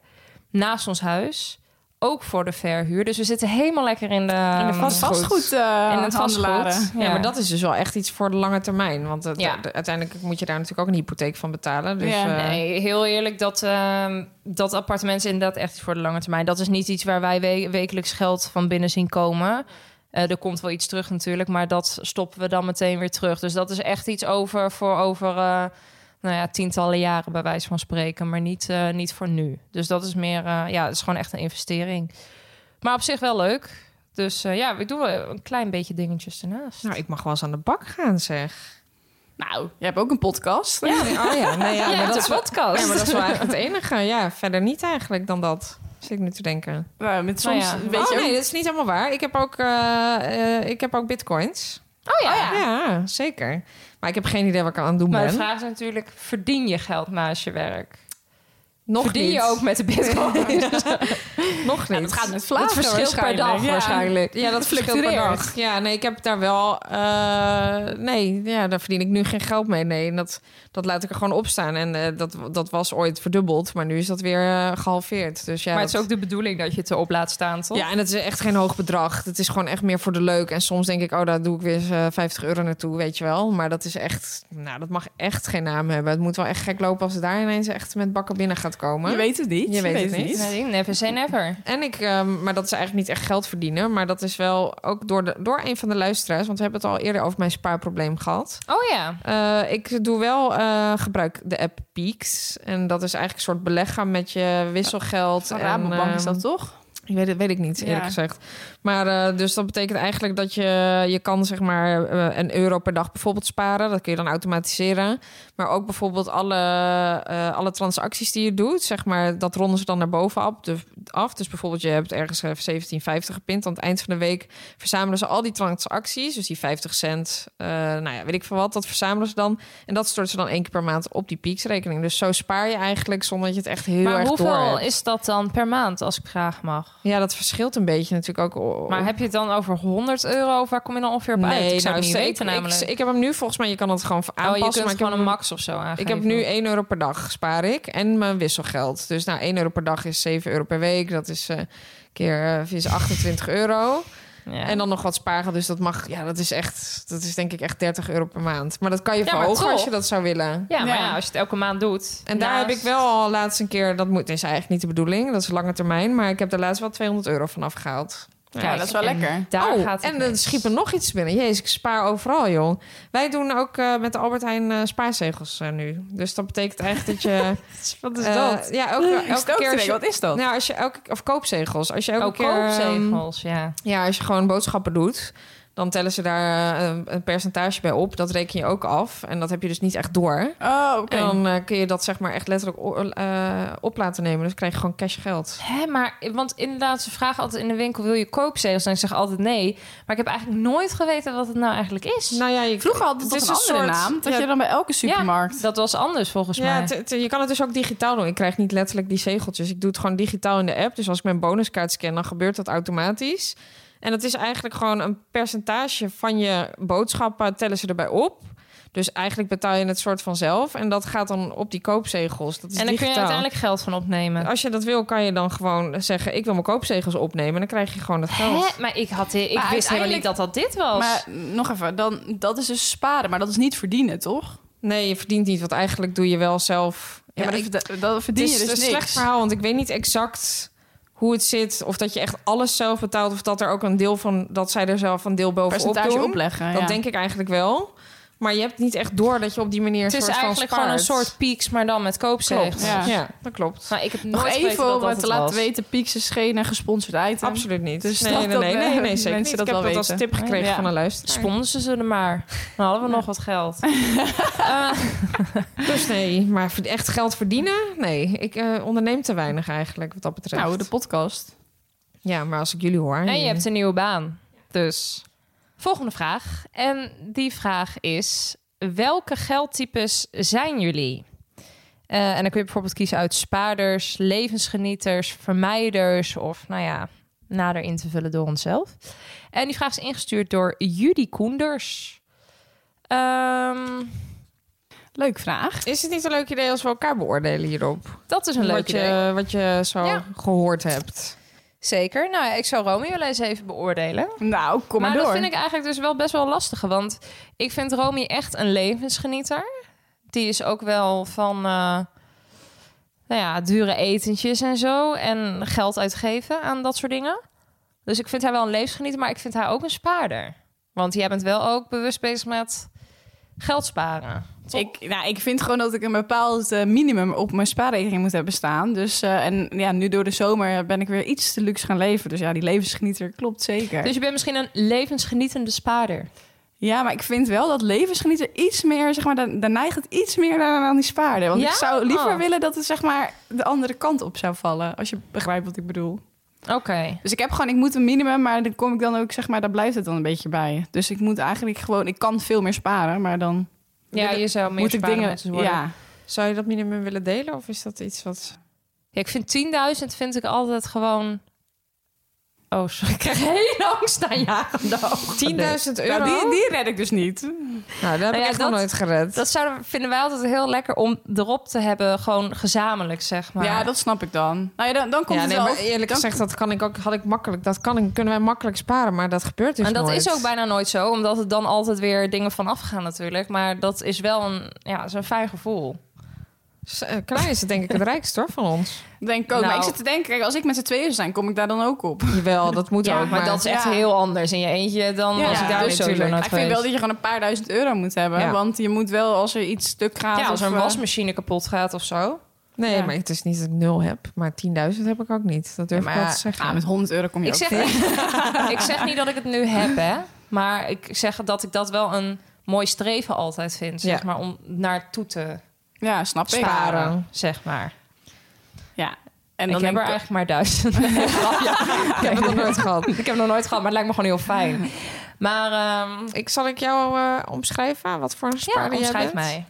B: Naast ons huis. Ook voor de verhuur. Dus we zitten helemaal lekker in de, ehm,
C: de vast-
D: vastgoed.
C: Goed.
D: eh,
B: in het
D: handelaren.
B: vastgoed.
C: Ja. maar dat is dus wel echt iets voor de lange termijn. Want eh,
B: Ja.
C: de- uiteindelijk moet je daar natuurlijk ook een hypotheek van betalen. Dus,
D: Ja.
C: eh,
B: Nee, heel eerlijk, dat, ehm, dat appartement is inderdaad echt voor de lange termijn. Dat is niet iets waar wij we- wekelijks geld van binnen zien komen. Eh, er komt wel iets terug natuurlijk, maar dat stoppen we dan meteen weer terug. Dus dat is echt iets over voor over eh, nou ja, tientallen jaren bij wijze van spreken, maar niet, eh, niet voor nu. Dus dat is meer, eh, ja, het is gewoon echt een investering. Maar op zich wel leuk. Dus eh, ja, ik doe wel een klein beetje dingetjes ernaast.
C: Nou, ik mag wel eens aan de bak gaan, zeg.
D: Nou, je hebt ook een podcast.
C: Ja, oh ja. Nee, ja,
B: Ja,
C: maar dat
B: de
C: is wel-
B: podcast.
C: ja, maar dat is wel eigenlijk het enige. Ja, verder niet eigenlijk dan dat. Zit ik nu te denken.
D: Nou, met
B: Nou
D: soms
B: ja.
D: weet
C: oh
D: je ook-
C: nee, dat is niet helemaal waar. Ik heb ook, eh, eh, ik heb ook bitcoins.
B: Oh
C: Ja. zeker. Maar ik heb geen idee wat ik aan het doen
B: Maar de
C: ben.
B: vraag is natuurlijk, verdien je geld naast je werk?
C: Nog
B: Verdien
C: niet.
B: je ook met de bitcoin?
C: Nog niet.
D: dat gaat met vlagen
C: Het verschilt per
D: waarschijnlijk.
C: dag
D: Ja.
C: waarschijnlijk. Ja, dat verschilt per
D: Fluctueert.
C: dag. Ja, nee, ik heb daar wel... eh, nee, ja, daar verdien ik nu geen geld mee. Nee, en dat, dat laat ik er gewoon op staan. En eh, dat, dat was ooit verdubbeld, maar nu is dat weer eh, gehalveerd. Dus ja,
B: maar het is
C: dat-
B: ook de bedoeling dat je het erop laat staan, toch?
C: Ja, en het is echt geen hoog bedrag. Het is gewoon echt meer voor de leuk. En soms denk ik, oh, daar doe ik weer eens, eh, 50 euro naartoe, weet je wel. Maar dat is echt, nou, dat mag echt geen naam hebben. Het moet wel echt gek lopen als het daar ineens echt met bakken binnen gaat komen.
D: Je weet het niet.
C: Je weet het niet.
B: Nee, never say never.
C: En ik, ehm, maar dat is eigenlijk niet echt geld verdienen. Maar dat is wel ook door, de, door een van de luisteraars. Want we hebben het al eerder over mijn spaarprobleem gehad.
B: Oh ja.
C: Eh, ik doe wel eh, gebruik de app Peaks. En dat is eigenlijk een soort beleggen met je wisselgeld.
D: Van
C: en,
D: Rabobank is
C: ehm,
D: dat toch?
C: ik weet, het- weet ik niet, eerlijk
D: Ja.
C: gezegd. Maar eh, dus dat betekent eigenlijk dat je, je kan zeg maar eh, een euro per dag bijvoorbeeld sparen. Dat kun je dan automatiseren. Maar ook bijvoorbeeld alle, eh, alle transacties die je doet, zeg maar, dat ronden ze dan naar boven af. Dus, af. dus bijvoorbeeld je hebt ergens eh, 17,50 gepint. Aan het eind van de week verzamelen ze al die transacties. Dus die 50 cent, eh, nou ja, weet ik veel wat. Dat verzamelen ze dan. En dat storten ze dan één keer per maand op die peaksrekening. Dus zo spaar je eigenlijk zonder dat je het echt heel
B: maar
C: erg door
B: hoeveel
C: hebt.
B: is dat dan per maand, als ik graag mag?
C: Ja, dat verschilt een beetje natuurlijk ook. o-
B: Maar heb je het dan over 100 euro? Of waar kom je dan ongeveer op uit? Ik zou
C: nou,
B: het niet
C: ik-
B: weten
C: ik-
B: namelijk.
C: Ik, heb hem nu volgens mij, je kan het gewoon
B: oh,
C: aanpassen.
B: je kunt
C: maar ik
B: gewoon
C: heb
B: een
C: hem-
B: max of zo aangeven.
C: Ik heb nu 1 euro per dag spaar ik en mijn wisselgeld. Dus nou, 1 euro per dag is 7 euro per week. Dat is eh, keer eh, is 28 euro.
B: Ja.
C: En dan nog wat sparen. Dus dat mag, ja, dat is echt, dat is denk ik echt 30 euro per maand. Maar dat kan je
B: Ja, maar
C: verhogen als
B: toch.
C: je dat zou willen.
B: ja, maar
D: Ja.
B: ja, als je het elke maand doet.
C: En daar heb
B: naast-
C: ik wel al laatst een keer, dat moet, is eigenlijk niet de bedoeling, dat is lange termijn, maar ik heb daar laatst wel 200 euro van afgehaald.
B: Kijk,
D: dat is wel
B: en
D: lekker.
B: Daar
C: oh,
B: gaat het
C: en dan
B: mis.
C: schiep er nog iets binnen. Jezus, ik spaar overal, joh. Wij doen ook eh, met de Albert Heijn eh, spaarzegels eh, nu. Dus dat betekent eigenlijk dat je...
B: Wat is
C: eh,
B: dat?
C: Ja, elke,
D: Ik
C: elke
D: stel
C: keer...
D: te
C: Als
D: denken,
C: je,
D: wat is dat?
C: nou, als je elke, of koopzegels. Als je elke
B: Ook
C: keer... ehm,
B: Oh, koopzegels, ja.
C: ja, als je gewoon boodschappen doet, dan tellen ze daar eh, een- een percentage bij op. Dat reken je ook af. En dat heb je dus niet echt door.
D: Oh, oké.
C: En dan eh, kun je dat zeg maar echt letterlijk o- eh, op laten nemen. Dus krijg je gewoon cash geld.
B: Hè, maar, want inderdaad, ze vragen altijd in de winkel... wil je koopzegels? En ik zeg altijd nee. Maar ik heb eigenlijk nooit geweten wat het nou eigenlijk is.
C: Nou ja, je,
D: Vroeger had het
C: Het
D: toch
C: is
D: een
C: een
D: andere
C: soort-
D: naam? Dat
C: ja.
D: je dan bij elke supermarkt...
B: Dat was anders volgens
C: ja,
B: mij.
C: het- het- je kan het dus ook digitaal doen. Ik krijg niet letterlijk die zegeltjes. Ik doe het gewoon digitaal in de app. Dus als ik mijn bonuskaart scan, dan gebeurt dat automatisch. En dat is eigenlijk gewoon een percentage van je boodschappen tellen ze erbij op. Dus eigenlijk betaal je het soort van zelf. En dat gaat dan op die koopzegels. Dat is
B: en dan kun je
C: digitaal.
B: uiteindelijk geld van opnemen.
C: Als je dat wil, kan je dan gewoon zeggen... ik wil mijn koopzegels opnemen. En dan krijg je gewoon dat geld.
B: Hè? Maar ik, had, eh, ik
D: oh. Maar
B: wist helemaal niet dat dat dit was.
D: Maar nog even, dan, dat is dus sparen, maar dat is niet verdienen, toch?
C: Nee, je verdient niet. Want eigenlijk doe je wel zelf...
D: Ja, maar
C: Ja,
D: dat, dat- dat
C: Het
D: verdien
C: is
D: je dus
C: een
D: niks.
C: slecht verhaal, want ik weet niet exact hoe het zit. Of dat je echt alles zelf betaalt. Of dat er ook een deel van dat zij er zelf een deel bovenop
D: Percentage
C: doen.
D: opleggen,
C: Dat
D: ja.
C: denk ik eigenlijk wel. Maar je hebt niet echt door dat je op die manier
B: het
C: een
B: is
C: soort
B: eigenlijk
C: van
B: gewoon een
C: spaart.
B: soort pieks, maar dan met koopzegels.
C: klopt.
D: Ja.
C: Ja. dat klopt.
B: Maar ik heb
D: Nog
B: nooit geweten
D: even
B: dat
D: om
B: dat
D: het te
B: het
D: laten
B: was.
D: weten, Pieks is geen eh, gesponsord item.
C: Absoluut niet.
D: Dus
C: nee,
D: dat-
C: nee,
D: dat,
C: nee, nee,
D: eh,
C: nee,
D: mensen
C: zeker niet.
D: dat
C: Ik heb
D: wel
C: dat als
D: weten.
C: tip gekregen
D: Ja.
C: van een luisteraar.
B: Sponsen ze er maar. Dan hadden we nog wat geld. Eh,
C: Dus nee, maar verd- echt geld verdienen? Nee, ik eh, onderneem te weinig eigenlijk wat dat betreft.
D: Nou, de podcast.
C: Ja, maar als ik jullie hoor...
B: en je hebt een nieuwe baan. Dus. Volgende vraag. En die vraag is: welke geldtypes zijn jullie? Eh, en dan kun je bijvoorbeeld kiezen uit spaarders, levensgenieters, vermijders of nou ja, nader in te vullen door onszelf. En die vraag is ingestuurd door Judy Koenders. Ehm,
D: Leuk vraag.
C: Is het niet een leuk idee als we elkaar beoordelen hierop?
B: dat is een leuk
C: wat, je,
B: idee.
C: wat je zo
B: Ja.
C: gehoord hebt.
B: Zeker. Nou, ja, ik zou Romeo wel eens even beoordelen.
D: Nou, kom maar,
B: maar
D: door.
B: dat vind ik eigenlijk dus wel best wel lastig. Want ik vind Romy echt een levensgenieter. Die is ook wel van eh, nou ja, dure etentjes en zo. En geld uitgeven aan dat soort dingen. Dus ik vind haar wel een levensgenieter. Maar ik vind haar ook een spaarder. Want jij bent wel ook bewust bezig met geld sparen. toch?
D: Ik, nou, ik vind gewoon dat ik een bepaald eh, minimum op mijn spaarrekening moet hebben staan. Dus, eh, en ja, nu door de zomer ben ik weer iets te luxe gaan leven. Dus ja, die levensgenieter klopt zeker.
B: Dus je bent misschien een levensgenietende spaarder.
D: Ja, maar ik vind wel dat levensgenieter iets meer, zeg maar, daar, daar neigt het iets meer naar aan die spaarder. Want
B: Ja?
D: ik zou liever
B: Oh.
D: willen dat het, zeg maar, de andere kant op zou vallen. Als je begrijpt wat ik bedoel.
B: Oké.
D: Dus ik heb gewoon, ik moet een minimum, maar dan kom ik dan ook, zeg maar, daar blijft het dan een beetje bij. Dus ik moet eigenlijk gewoon, ik kan veel meer sparen, maar dan
B: Ja, je zou meer
D: moet ik
B: spaarder
D: dingen.
B: moeten worden.
D: Ja,
C: Zou je dat minimum willen delen of is dat iets wat...
B: Ja, ik vind 10.000 vind ik altijd gewoon. Oh, sorry. Ik krijg heel angst aan jagende ogen.
C: 10.000 euro?
D: Nou, die, die red ik dus niet.
C: Nou, dat heb
B: Nou
C: ik
B: ja,
C: echt
B: dat-
C: nog nooit gered.
B: Dat zouden, vinden wij altijd heel lekker om erop te hebben, gewoon gezamenlijk, zeg maar.
D: Ja, dat snap ik dan. Nou ja, dan, dan komt
C: ja,
D: het
C: nee,
D: wel.
C: maar eerlijk
D: dan-
C: gezegd, dat kan ik ook, had ik makkelijk, dat kan ik, kunnen wij makkelijk sparen, maar dat gebeurt dus
B: en dat
C: nooit.
B: is ook bijna nooit zo, omdat er dan altijd weer dingen van afgaan natuurlijk. Maar dat is wel een, ja, is een fijn gevoel.
C: S- eh, Klaar is het denk ik het rijkst hoor van ons.
D: Denk ik ook. Maar
B: Nou.
D: ik zit te denken, kijk, als ik met z'n tweeën zijn, kom ik daar dan ook op.
C: Jawel, dat moet
B: ja,
C: ook.
B: maar dat is echt
D: ja.
B: heel anders in je eentje dan
D: Ja,
B: als ik daar
C: ja,
B: dus sowieso
C: natuurlijk.
B: nooit
D: ik vind wel
B: geweest.
D: dat je gewoon een paar duizend euro moet hebben.
C: Ja.
D: Want je moet wel, als er iets stuk gaat...
B: Ja, als
D: of,
B: er een
D: eh,
B: wasmachine kapot gaat of zo.
C: Nee,
D: Ja.
C: maar het is niet dat ik nul heb, maar 10.000 heb ik ook niet. Dat durf
D: ja,
C: ik wel
D: maar,
C: te zeggen.
D: ah, met 100 euro kom je
B: Ik
D: ook
B: zeg,
D: ver.
B: ik zeg niet dat ik het nu heb, hè. Maar ik zeg dat ik dat wel een mooi streven altijd vind. Zeg
C: Ja.
B: maar, om naartoe te
D: Ja, snap ik.
B: sparen, zeg maar.
D: Ja. En
B: En
D: dan
B: ik heb er
D: denk
B: eigenlijk maar duizend. Nee, grapje.
C: ik heb het nog nooit gehad.
B: ik heb nog nooit gehad, maar het lijkt me gewoon heel fijn. Maar ehm
C: Ik, zal ik jou eh, omschrijven? Wat voor een
B: ja,
C: spaarder jij
B: omschrijf
C: bent?
B: mij.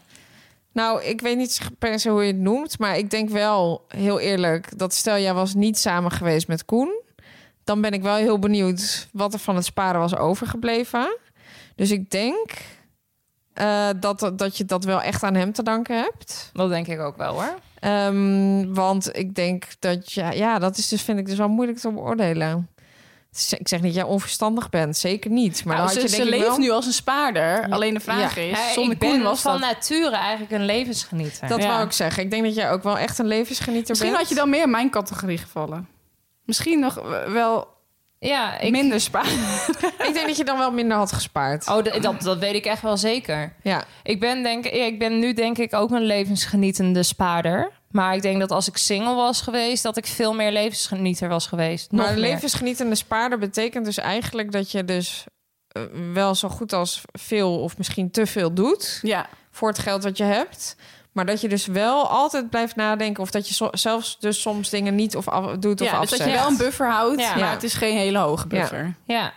C: Nou, ik weet niet per se hoe je het noemt, maar ik denk wel heel eerlijk dat stel jij was niet samen geweest met Koen, dan ben ik wel heel benieuwd wat er van het sparen was overgebleven. Dus ik denk eh, dat, dat je dat wel echt aan hem te danken hebt.
B: Dat denk ik ook wel, hoor.
C: Ehm, want ik denk dat ja, ja, dat is dus vind ik dus wel moeilijk te beoordelen. Het z- Ik zeg niet dat jij onverstandig bent, zeker niet. Maar
D: Nou,
C: dan
D: ze
C: had je
D: ze
C: denk ik
D: leeft
C: wel...
D: nu als een spaarder. Alleen de vraag
C: Ja.
D: is,
B: Ja,
D: zonder
B: ik ben
D: Koen was
B: van
D: dat...
B: nature eigenlijk een levensgenieter.
C: Dat
D: Ja.
C: wou ik zeggen. Ik denk dat jij ook wel echt een levensgenieter
D: Misschien
C: bent.
D: had je dan meer in mijn categorie gevallen. Misschien nog wel
B: ja, ik,
D: minder spaarder.
C: Ik denk dat je dan wel minder had gespaard.
B: oh, dat, dat, dat weet ik echt wel zeker.
C: Ja.
B: Ik ben, denk, ja, ik ben nu denk ik ook een levensgenietende spaarder. Maar ik denk dat als ik single was geweest, dat ik veel meer levensgenieter was geweest. Nog
C: maar een
B: meer.
C: levensgenietende spaarder betekent dus eigenlijk dat je dus eh, wel zo goed als veel of misschien te veel doet
D: Ja,
C: voor het geld wat je hebt. Maar dat je dus wel altijd blijft nadenken of dat je zo- zelfs dus soms dingen niet of af- doet of
D: ja dus
C: afzet.
D: dat je wel een buffer houdt,
B: Ja.
D: maar
C: Ja.
D: het is geen hele hoge buffer.
B: Ja,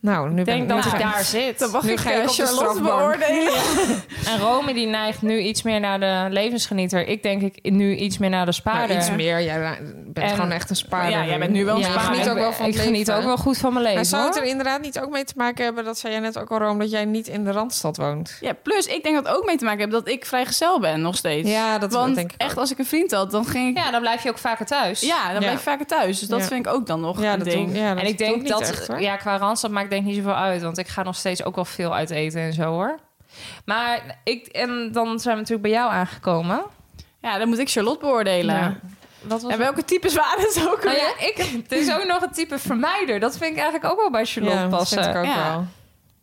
C: Nou, nu
B: ik denk
C: ben ik
B: dat
C: nu
B: ik
C: ga-
B: daar zit.
D: Dan mag
C: Nu
D: ik
C: ga ik
D: eh,
C: op de
D: Charlotte
C: strafbank.
D: beoordelen.
B: En Romy die neigt nu iets meer naar de levensgenieter. Ik denk ik nu iets meer naar de
C: Nou,
B: spaarder.
C: iets meer. Jij ra- bent
B: En-
C: gewoon echt een spaarder.
D: Ja, jij bent nu wel een
C: Ja,
D: spaarder.
C: Ik geniet ook wel van
B: ik
C: het leven.
B: geniet ook wel goed van mijn
C: Maar
B: leven.
C: zou het
B: hoor.
C: er inderdaad niet ook mee te maken hebben... dat zei jij net ook al, Rome, dat jij niet in de Randstad woont?
D: Ja, plus ik denk dat het ook mee te maken heeft dat ik vrijgezel ben nog steeds.
C: Ja, dat
D: Want
C: denk ik
D: echt als ik een vriend had, dan ging ik... Ja,
B: Ja, dan blijf je ook vaker thuis.
D: dan
C: Ja.
D: blijf ik vaker thuis. Dus dat
C: Ja.
D: vind ik ook dan nog
C: ja,
D: een
C: dat
D: ding.
C: doe- ja,
B: en ik
C: doe
B: denk
C: niet
B: dat,
C: echt, hoor.
B: ja, qua randstad maakt denk ik niet zoveel uit. Want ik ga nog steeds ook wel veel uit eten en zo hoor. Maar ik, en dan zijn we natuurlijk bij jou aangekomen.
D: Ja, dan moet ik Charlotte beoordelen.
C: Ja.
B: Wat was
D: En welke types waren het ook
B: nou
D: alweer?
B: ja, ik, het is ook nog het type vermijder. Dat vind ik eigenlijk ook wel bij Charlotte
C: ja, dat vind ik
B: passen.
C: ook
D: Ja.
C: wel.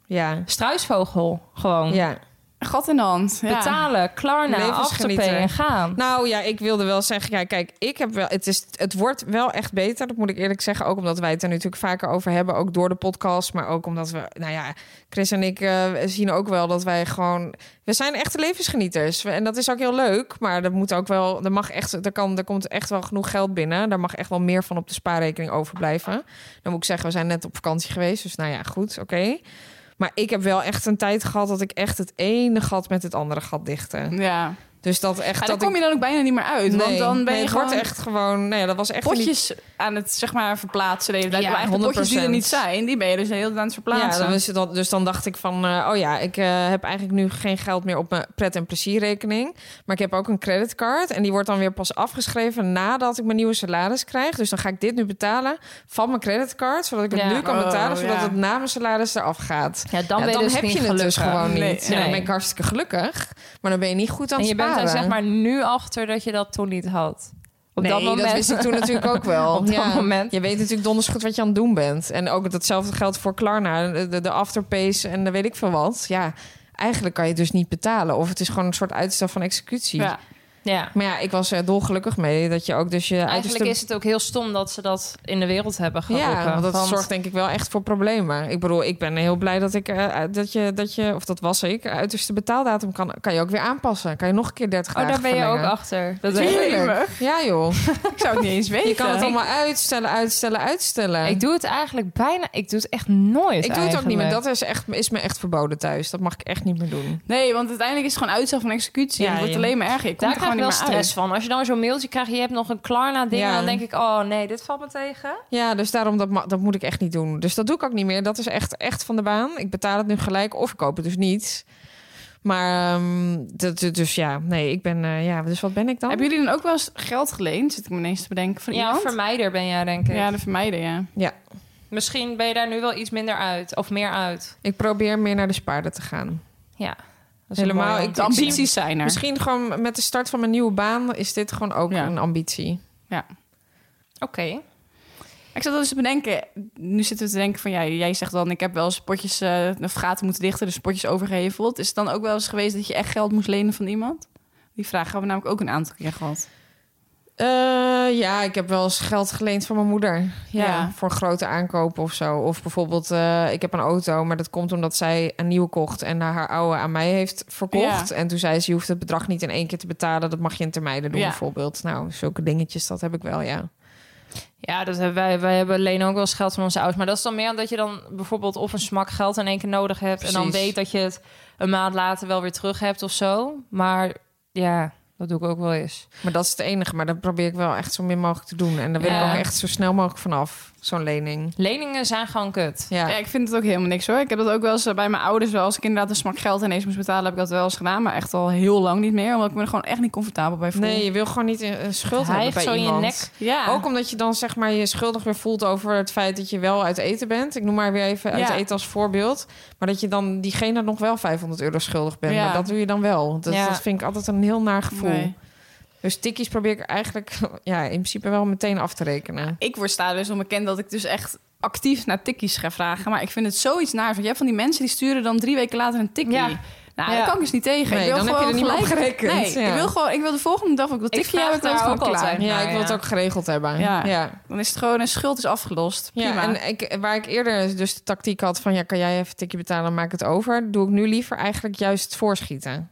C: Ja,
B: Struisvogel, gewoon.
C: ja.
D: Gat in de hand. Ja.
B: Betalen, Klarna,
C: Levensgenieter.
B: afterpay en gaan.
C: Nou ja, ik wilde wel zeggen, ja, kijk, ik heb wel, het, is, het wordt wel echt beter. Dat moet ik eerlijk zeggen. Ook omdat wij het er nu natuurlijk vaker over hebben. Ook door de podcast. Maar ook omdat we, nou ja, Chris en ik eh, zien ook wel dat wij gewoon. We zijn echte levensgenieters. En dat is ook heel leuk. Maar dat moet ook wel. Er, mag echt, er, kan, er komt echt wel genoeg geld binnen. Daar mag echt wel meer van op de spaarrekening overblijven. Dan moet ik zeggen, we zijn net op vakantie geweest. Dus nou ja, goed, oké. Maar ik heb wel echt een tijd gehad dat ik echt het ene gat met het andere gat dichtte.
D: Ja.
C: Dus dat echt.
D: Maar daar
C: dat
D: kom
C: ik-
D: je dan ook bijna niet meer uit. want
C: Nee,
D: dan ben
C: nee,
D: je
C: het
D: gewoon
C: wordt echt gewoon. Nee, dat was echt niet.
D: potjes aan het zeg maar, verplaatsen. De hele tijd.
C: Ja,
D: Maar eigenlijk potjes die er
C: 100%.
D: niet zijn, die ben je dus de hele tijd aan het
C: Ja,
D: verplaatsen.
C: dan was het dan, dus dan dacht ik van, eh, oh ja, ik eh, heb eigenlijk nu geen geld meer op mijn pret- en plezierrekening. Maar ik heb ook een creditcard en die wordt dan weer pas afgeschreven nadat ik mijn nieuwe salaris krijg. Dus dan ga ik dit nu betalen van mijn creditcard, zodat ik het
B: Ja.
C: nu kan
D: Oh,
C: betalen, zodat
D: ja.
C: het na mijn salaris eraf gaat.
B: Ja, dan
C: Ja,
B: ben je dus
C: heb
B: niet
C: je het dus
B: gelukkig.
C: gewoon niet.
D: Nee,
C: Ja,
B: nee.
C: dan ben ik hartstikke gelukkig, maar dan ben je niet goed aan
B: En
C: het
B: je bent
C: sparen.
B: er zeg maar nu achter dat je dat toen niet had. Op
C: nee,
B: dat moment.
C: dat wist ik toen natuurlijk ook wel.
B: Op dat
C: Ja.
B: moment.
C: Je weet natuurlijk donders goed wat je aan het doen bent. En ook datzelfde geldt voor Klarna, de, de afterpays en de weet ik veel wat. Ja, eigenlijk kan je het dus niet betalen. Of het is gewoon een soort uitstel van executie.
D: Ja.
B: Ja.
C: Maar ja, ik was er dolgelukkig mee dat je ook dus je
B: Eigenlijk
C: uiterste-
B: is het ook heel stom dat ze dat in de wereld hebben geroepen.
C: ja, want dat zorgt denk ik wel echt voor problemen. Ik bedoel, ik ben heel blij dat ik eh, dat je dat je of dat was ik uiterste betaaldatum kan kan je ook weer aanpassen. Kan je nog een keer 30
B: Oh, daar
C: dagen
B: ben je ook
C: verlengen.
B: achter. Dat
D: Tuurlijk.
B: weet ik.
D: Jemig.
C: Ja joh,
D: Ik zou het niet eens weten.
C: je kan het allemaal uitstellen, uitstellen, uitstellen.
B: Ik doe het eigenlijk bijna... Ik doe het echt nooit
C: Ik doe het ook niet meer.
B: eigenlijk.
C: Dat is, echt, is me echt verboden thuis. Dat mag ik echt niet meer doen.
D: Nee, want uiteindelijk is het gewoon uitstel van executie.
C: Ja,
D: en het wordt
C: ja.
D: alleen maar erger. Je komt
B: Daar
D: er
B: krijg
D: gewoon
B: ik
D: niet
B: wel
D: meer
B: stress
D: uit.
B: van. Als je dan zo'n mailtje krijgt, je hebt nog een Klarna-ding...
C: Ja.
B: dan denk ik, oh nee, dit valt me tegen.
C: Ja, dus daarom, dat, ma- dat moet ik echt niet doen. Dus dat doe ik ook niet meer. Dat is echt, echt van de baan. Ik betaal het nu gelijk of ik koop het dus niet. Maar, ehm, dat, dus ja, nee, ik ben, eh, ja, dus wat ben ik dan?
D: Hebben jullie dan ook wel eens geld geleend? Zit ik me ineens te bedenken van
B: Ja,
D: iemand?
B: vermijder ben jij, denk ik.
D: Ja, dat vermijden, ja.
B: Misschien ben je daar nu wel iets minder uit. Of meer uit.
C: Ik probeer meer naar de spaarden te gaan.
B: Ja. Dat is een
C: Helemaal,
B: mooie
C: ik-
D: De
B: antwoord.
D: ambities zijn er.
C: Misschien gewoon met de start van mijn nieuwe baan is dit gewoon ook
D: Ja.
C: een ambitie.
B: Oké.
D: Ik zat wel eens te bedenken, nu zitten we te denken van... Ja, jij zegt dan, ik heb wel eens potjes, eh of gaten moeten dichten... dus potjes overgeheveld. Is het dan ook wel eens geweest dat je echt geld moest lenen van iemand? Die vraag hebben we namelijk ook een aantal keer gehad.
C: Eh, ja, ik heb wel eens geld geleend van mijn moeder. Ja,
D: Ja.
C: Voor grote aankopen of zo. Of bijvoorbeeld, eh, ik heb een auto, maar dat komt omdat zij een nieuwe kocht en haar oude aan mij heeft verkocht. En toen zei ze: Je hoeft het bedrag niet in één keer te betalen. Dat mag je in termijnen doen,
D: Ja.
C: bijvoorbeeld. Nou, zulke dingetjes, dat heb ik wel, ja.
B: Ja, dat hebben wij, wij hebben lenen ook wel eens geld van onze ouders. Maar dat is dan meer dat je dan bijvoorbeeld of een smak geld in één keer nodig hebt. En dan
C: Precies.
B: weet dat je het een maand later wel weer terug hebt of zo. Maar ja, Dat doe ik ook wel eens.
C: Maar dat is het enige. Maar dat probeer ik wel echt zo min mogelijk te doen. En daar wil
B: Ja.
C: ik ook echt zo snel mogelijk vanaf, zo'n lening.
B: Leningen zijn gewoon kut.
C: Ja.
D: Ja, ik vind het ook helemaal niks hoor. Ik heb dat ook wel eens eh, bij mijn ouders. wel Als ik inderdaad een smak geld ineens moest betalen, heb ik dat wel eens gedaan. Maar echt al heel lang niet meer. Omdat ik me er gewoon echt niet comfortabel bij voel.
C: Nee, je wil gewoon niet een een
B: Hij
C: schuld hebben
B: heeft
C: bij
B: zo in je
C: iemand.
B: nek.
D: Ja.
C: Ook omdat je dan zeg maar je schuldig weer voelt over het feit dat je wel uit eten bent. Ik noem maar weer even uit
D: Ja.
C: eten als voorbeeld. Maar dat je dan diegene nog wel 500 euro schuldig bent.
D: Ja.
C: Maar dat doe je dan wel. Dat,
B: Ja.
C: dat vind ik altijd een heel naar gevoel.
D: Nee.
C: Dus tikkies probeer ik eigenlijk ja, in principe wel meteen af te rekenen.
D: Ik word sta dus onbekend dat ik dus echt actief naar tikkies ga vragen. Maar ik vind het zoiets naar. Want je hebt van die mensen die sturen dan drie weken later een tikkie.
B: Ja.
D: Nou,
B: Ja.
D: dat kan ik dus niet tegen.
C: Nee,
D: ik wil
C: dan heb je
D: gewoon
C: er niet meer op
D: gelijk-
C: gerekend.
D: Nee,
C: Ja.
D: ik wil gewoon... Ik wil de volgende dag ook dat
B: Ik
D: tikkie
B: vraag
D: hebben. Dan is het
B: daar
D: gewoon
B: ook
D: klaar.
B: altijd.
C: Ja,
B: Nou
C: ik wil het
B: ja.
C: ook geregeld hebben.
D: Ja.
C: ja.
D: Dan is het gewoon... Een schuld is afgelost. Prima.
C: Ja, en ik, waar ik eerder dus de tactiek had van... ja, kan jij even een tikje betalen, dan maak ik het over. Doe ik nu liever eigenlijk juist voorschieten.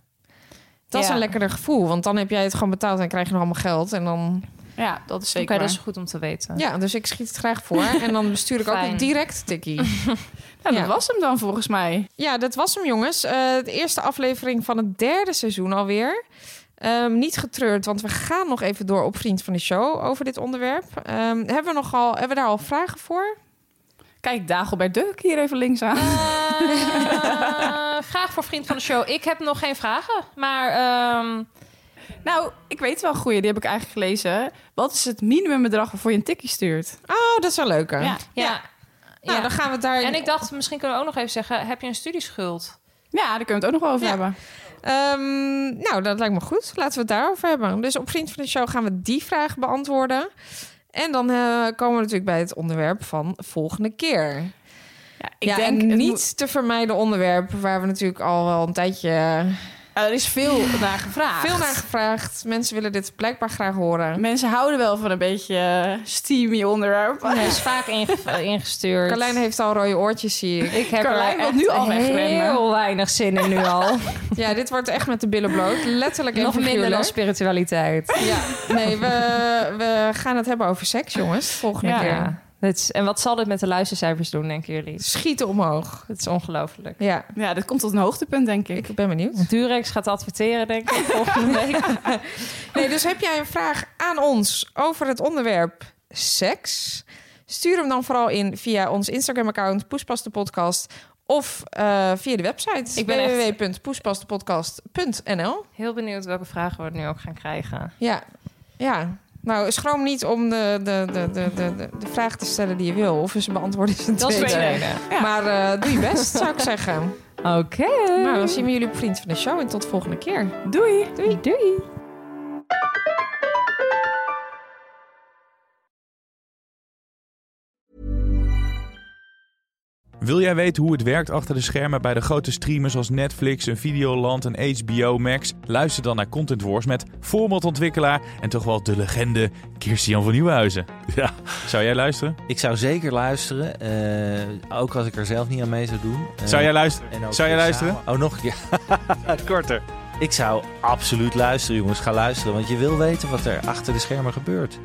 C: Dat is
D: Ja.
C: een lekkerder gevoel, want dan heb jij het gewoon betaald... en krijg je nog allemaal geld. En dan,
D: Ja, dat is
B: Dus Oké,
D: zeker
B: dat is
D: waar.
B: goed om te weten.
C: ja, dus ik schiet het graag voor. en dan bestuur ik ook
B: Fijn.
C: een direct tikkie.
D: Nou, dat
C: Ja.
D: was hem dan volgens mij.
C: Ja, dat was hem, jongens. Eh, de eerste aflevering van het derde seizoen alweer. Ehm, niet getreurd, want we gaan nog even door op Vriend van de Show over dit onderwerp. Ehm, hebben, we nogal, hebben we daar al vragen voor?
D: Kijk, Dagobert Duk hier even links aan.
B: Eh, graag voor vriend van de show. Ik heb nog geen vragen, maar ehm,
D: Nou, ik weet wel een goeie. Die heb ik eigenlijk gelezen. Wat is het minimumbedrag waarvoor je een tikkie stuurt?
C: Oh, dat is wel leuk. hè?
D: Ja.
B: ja.
C: Ja. Nou,
B: Ja.
C: dan gaan we het daar...
B: En ik dacht, misschien kunnen we ook nog even zeggen: heb je een studieschuld?
D: Ja, daar kunnen we het ook nog wel over
C: Ja.
D: hebben.
C: Ehm, nou, dat lijkt me goed. Laten we het daarover hebben. Dus op Vriend van de Show gaan we die vraag beantwoorden. En dan eh, komen we natuurlijk bij het onderwerp van volgende keer.
D: Ja, ik
C: ja,
D: denk
C: en
D: het
C: niet
D: moet-
C: te vermijden onderwerp waar we natuurlijk al wel een tijdje
D: er is veel naar gevraagd.
C: veel naar gevraagd. Mensen willen dit blijkbaar graag horen.
D: Mensen houden wel van een beetje eh, steamy onderwerp.
B: Dat is vaak inge- ingestuurd.
C: Carlijn heeft al rode oortjes, zie ik.
B: ik heb
D: Carlijn
B: er
D: wil
B: echt
D: nu al wegrennen.
B: heel weinig zin in nu al.
C: Ja, dit wordt echt met de billen bloot. Letterlijk en
B: nog minder
C: figuurlijk.
B: dan spiritualiteit.
C: Ja, nee, we, we gaan het hebben over seks, jongens. Volgende
D: Ja.
C: keer.
B: Ja. Dat is- en wat zal dit met de luistercijfers doen, denken jullie?
C: Schieten omhoog.
B: Het is ongelooflijk.
C: Ja,
D: Ja, dat komt tot een hoogtepunt, denk ik.
C: ik ben benieuwd.
B: Durex gaat adverteren, denk ik, volgende week.
C: Nee, dus heb jij een vraag aan ons over het onderwerp seks? Stuur hem dan vooral in via ons Instagram-account Poespas de Podcast of eh, via de website
B: Ik ben echt-
C: www.poespasdepodcast.nl.
B: Heel benieuwd welke vragen we nu ook gaan krijgen.
C: Ja, ja. Nou, schroom niet om de, de, de, de, de, de- de vraag te stellen die je wil. Of we ze beantwoorden is een
B: Dat is
C: tweede.
B: de reden.
D: Ja.
C: Maar eh, doe je best, zou ik zeggen.
B: Oké.
C: Nou, dan zien we jullie op Vriend van de Show. En tot volgende keer.
D: Doei!
B: Doei. Doei.
A: Wil jij weten hoe het werkt achter de schermen bij de grote streamers als Netflix, een Videoland en HBO Max? Luister dan naar Content Wars met formatontwikkelaar en toch wel de legende Kirstian van Nieuwenhuizen. Ja. Zou jij luisteren?
E: Ik zou zeker luisteren, eh, ook als ik er zelf niet aan mee zou doen. Eh,
A: Zou jij luisteren?
E: en ook
A: zou jij
E: samen-
A: luisteren?
E: Oh, nog een keer.
A: Korter.
E: Ik zou absoluut luisteren, jongens. Ga luisteren, want je wil weten wat er achter de schermen gebeurt.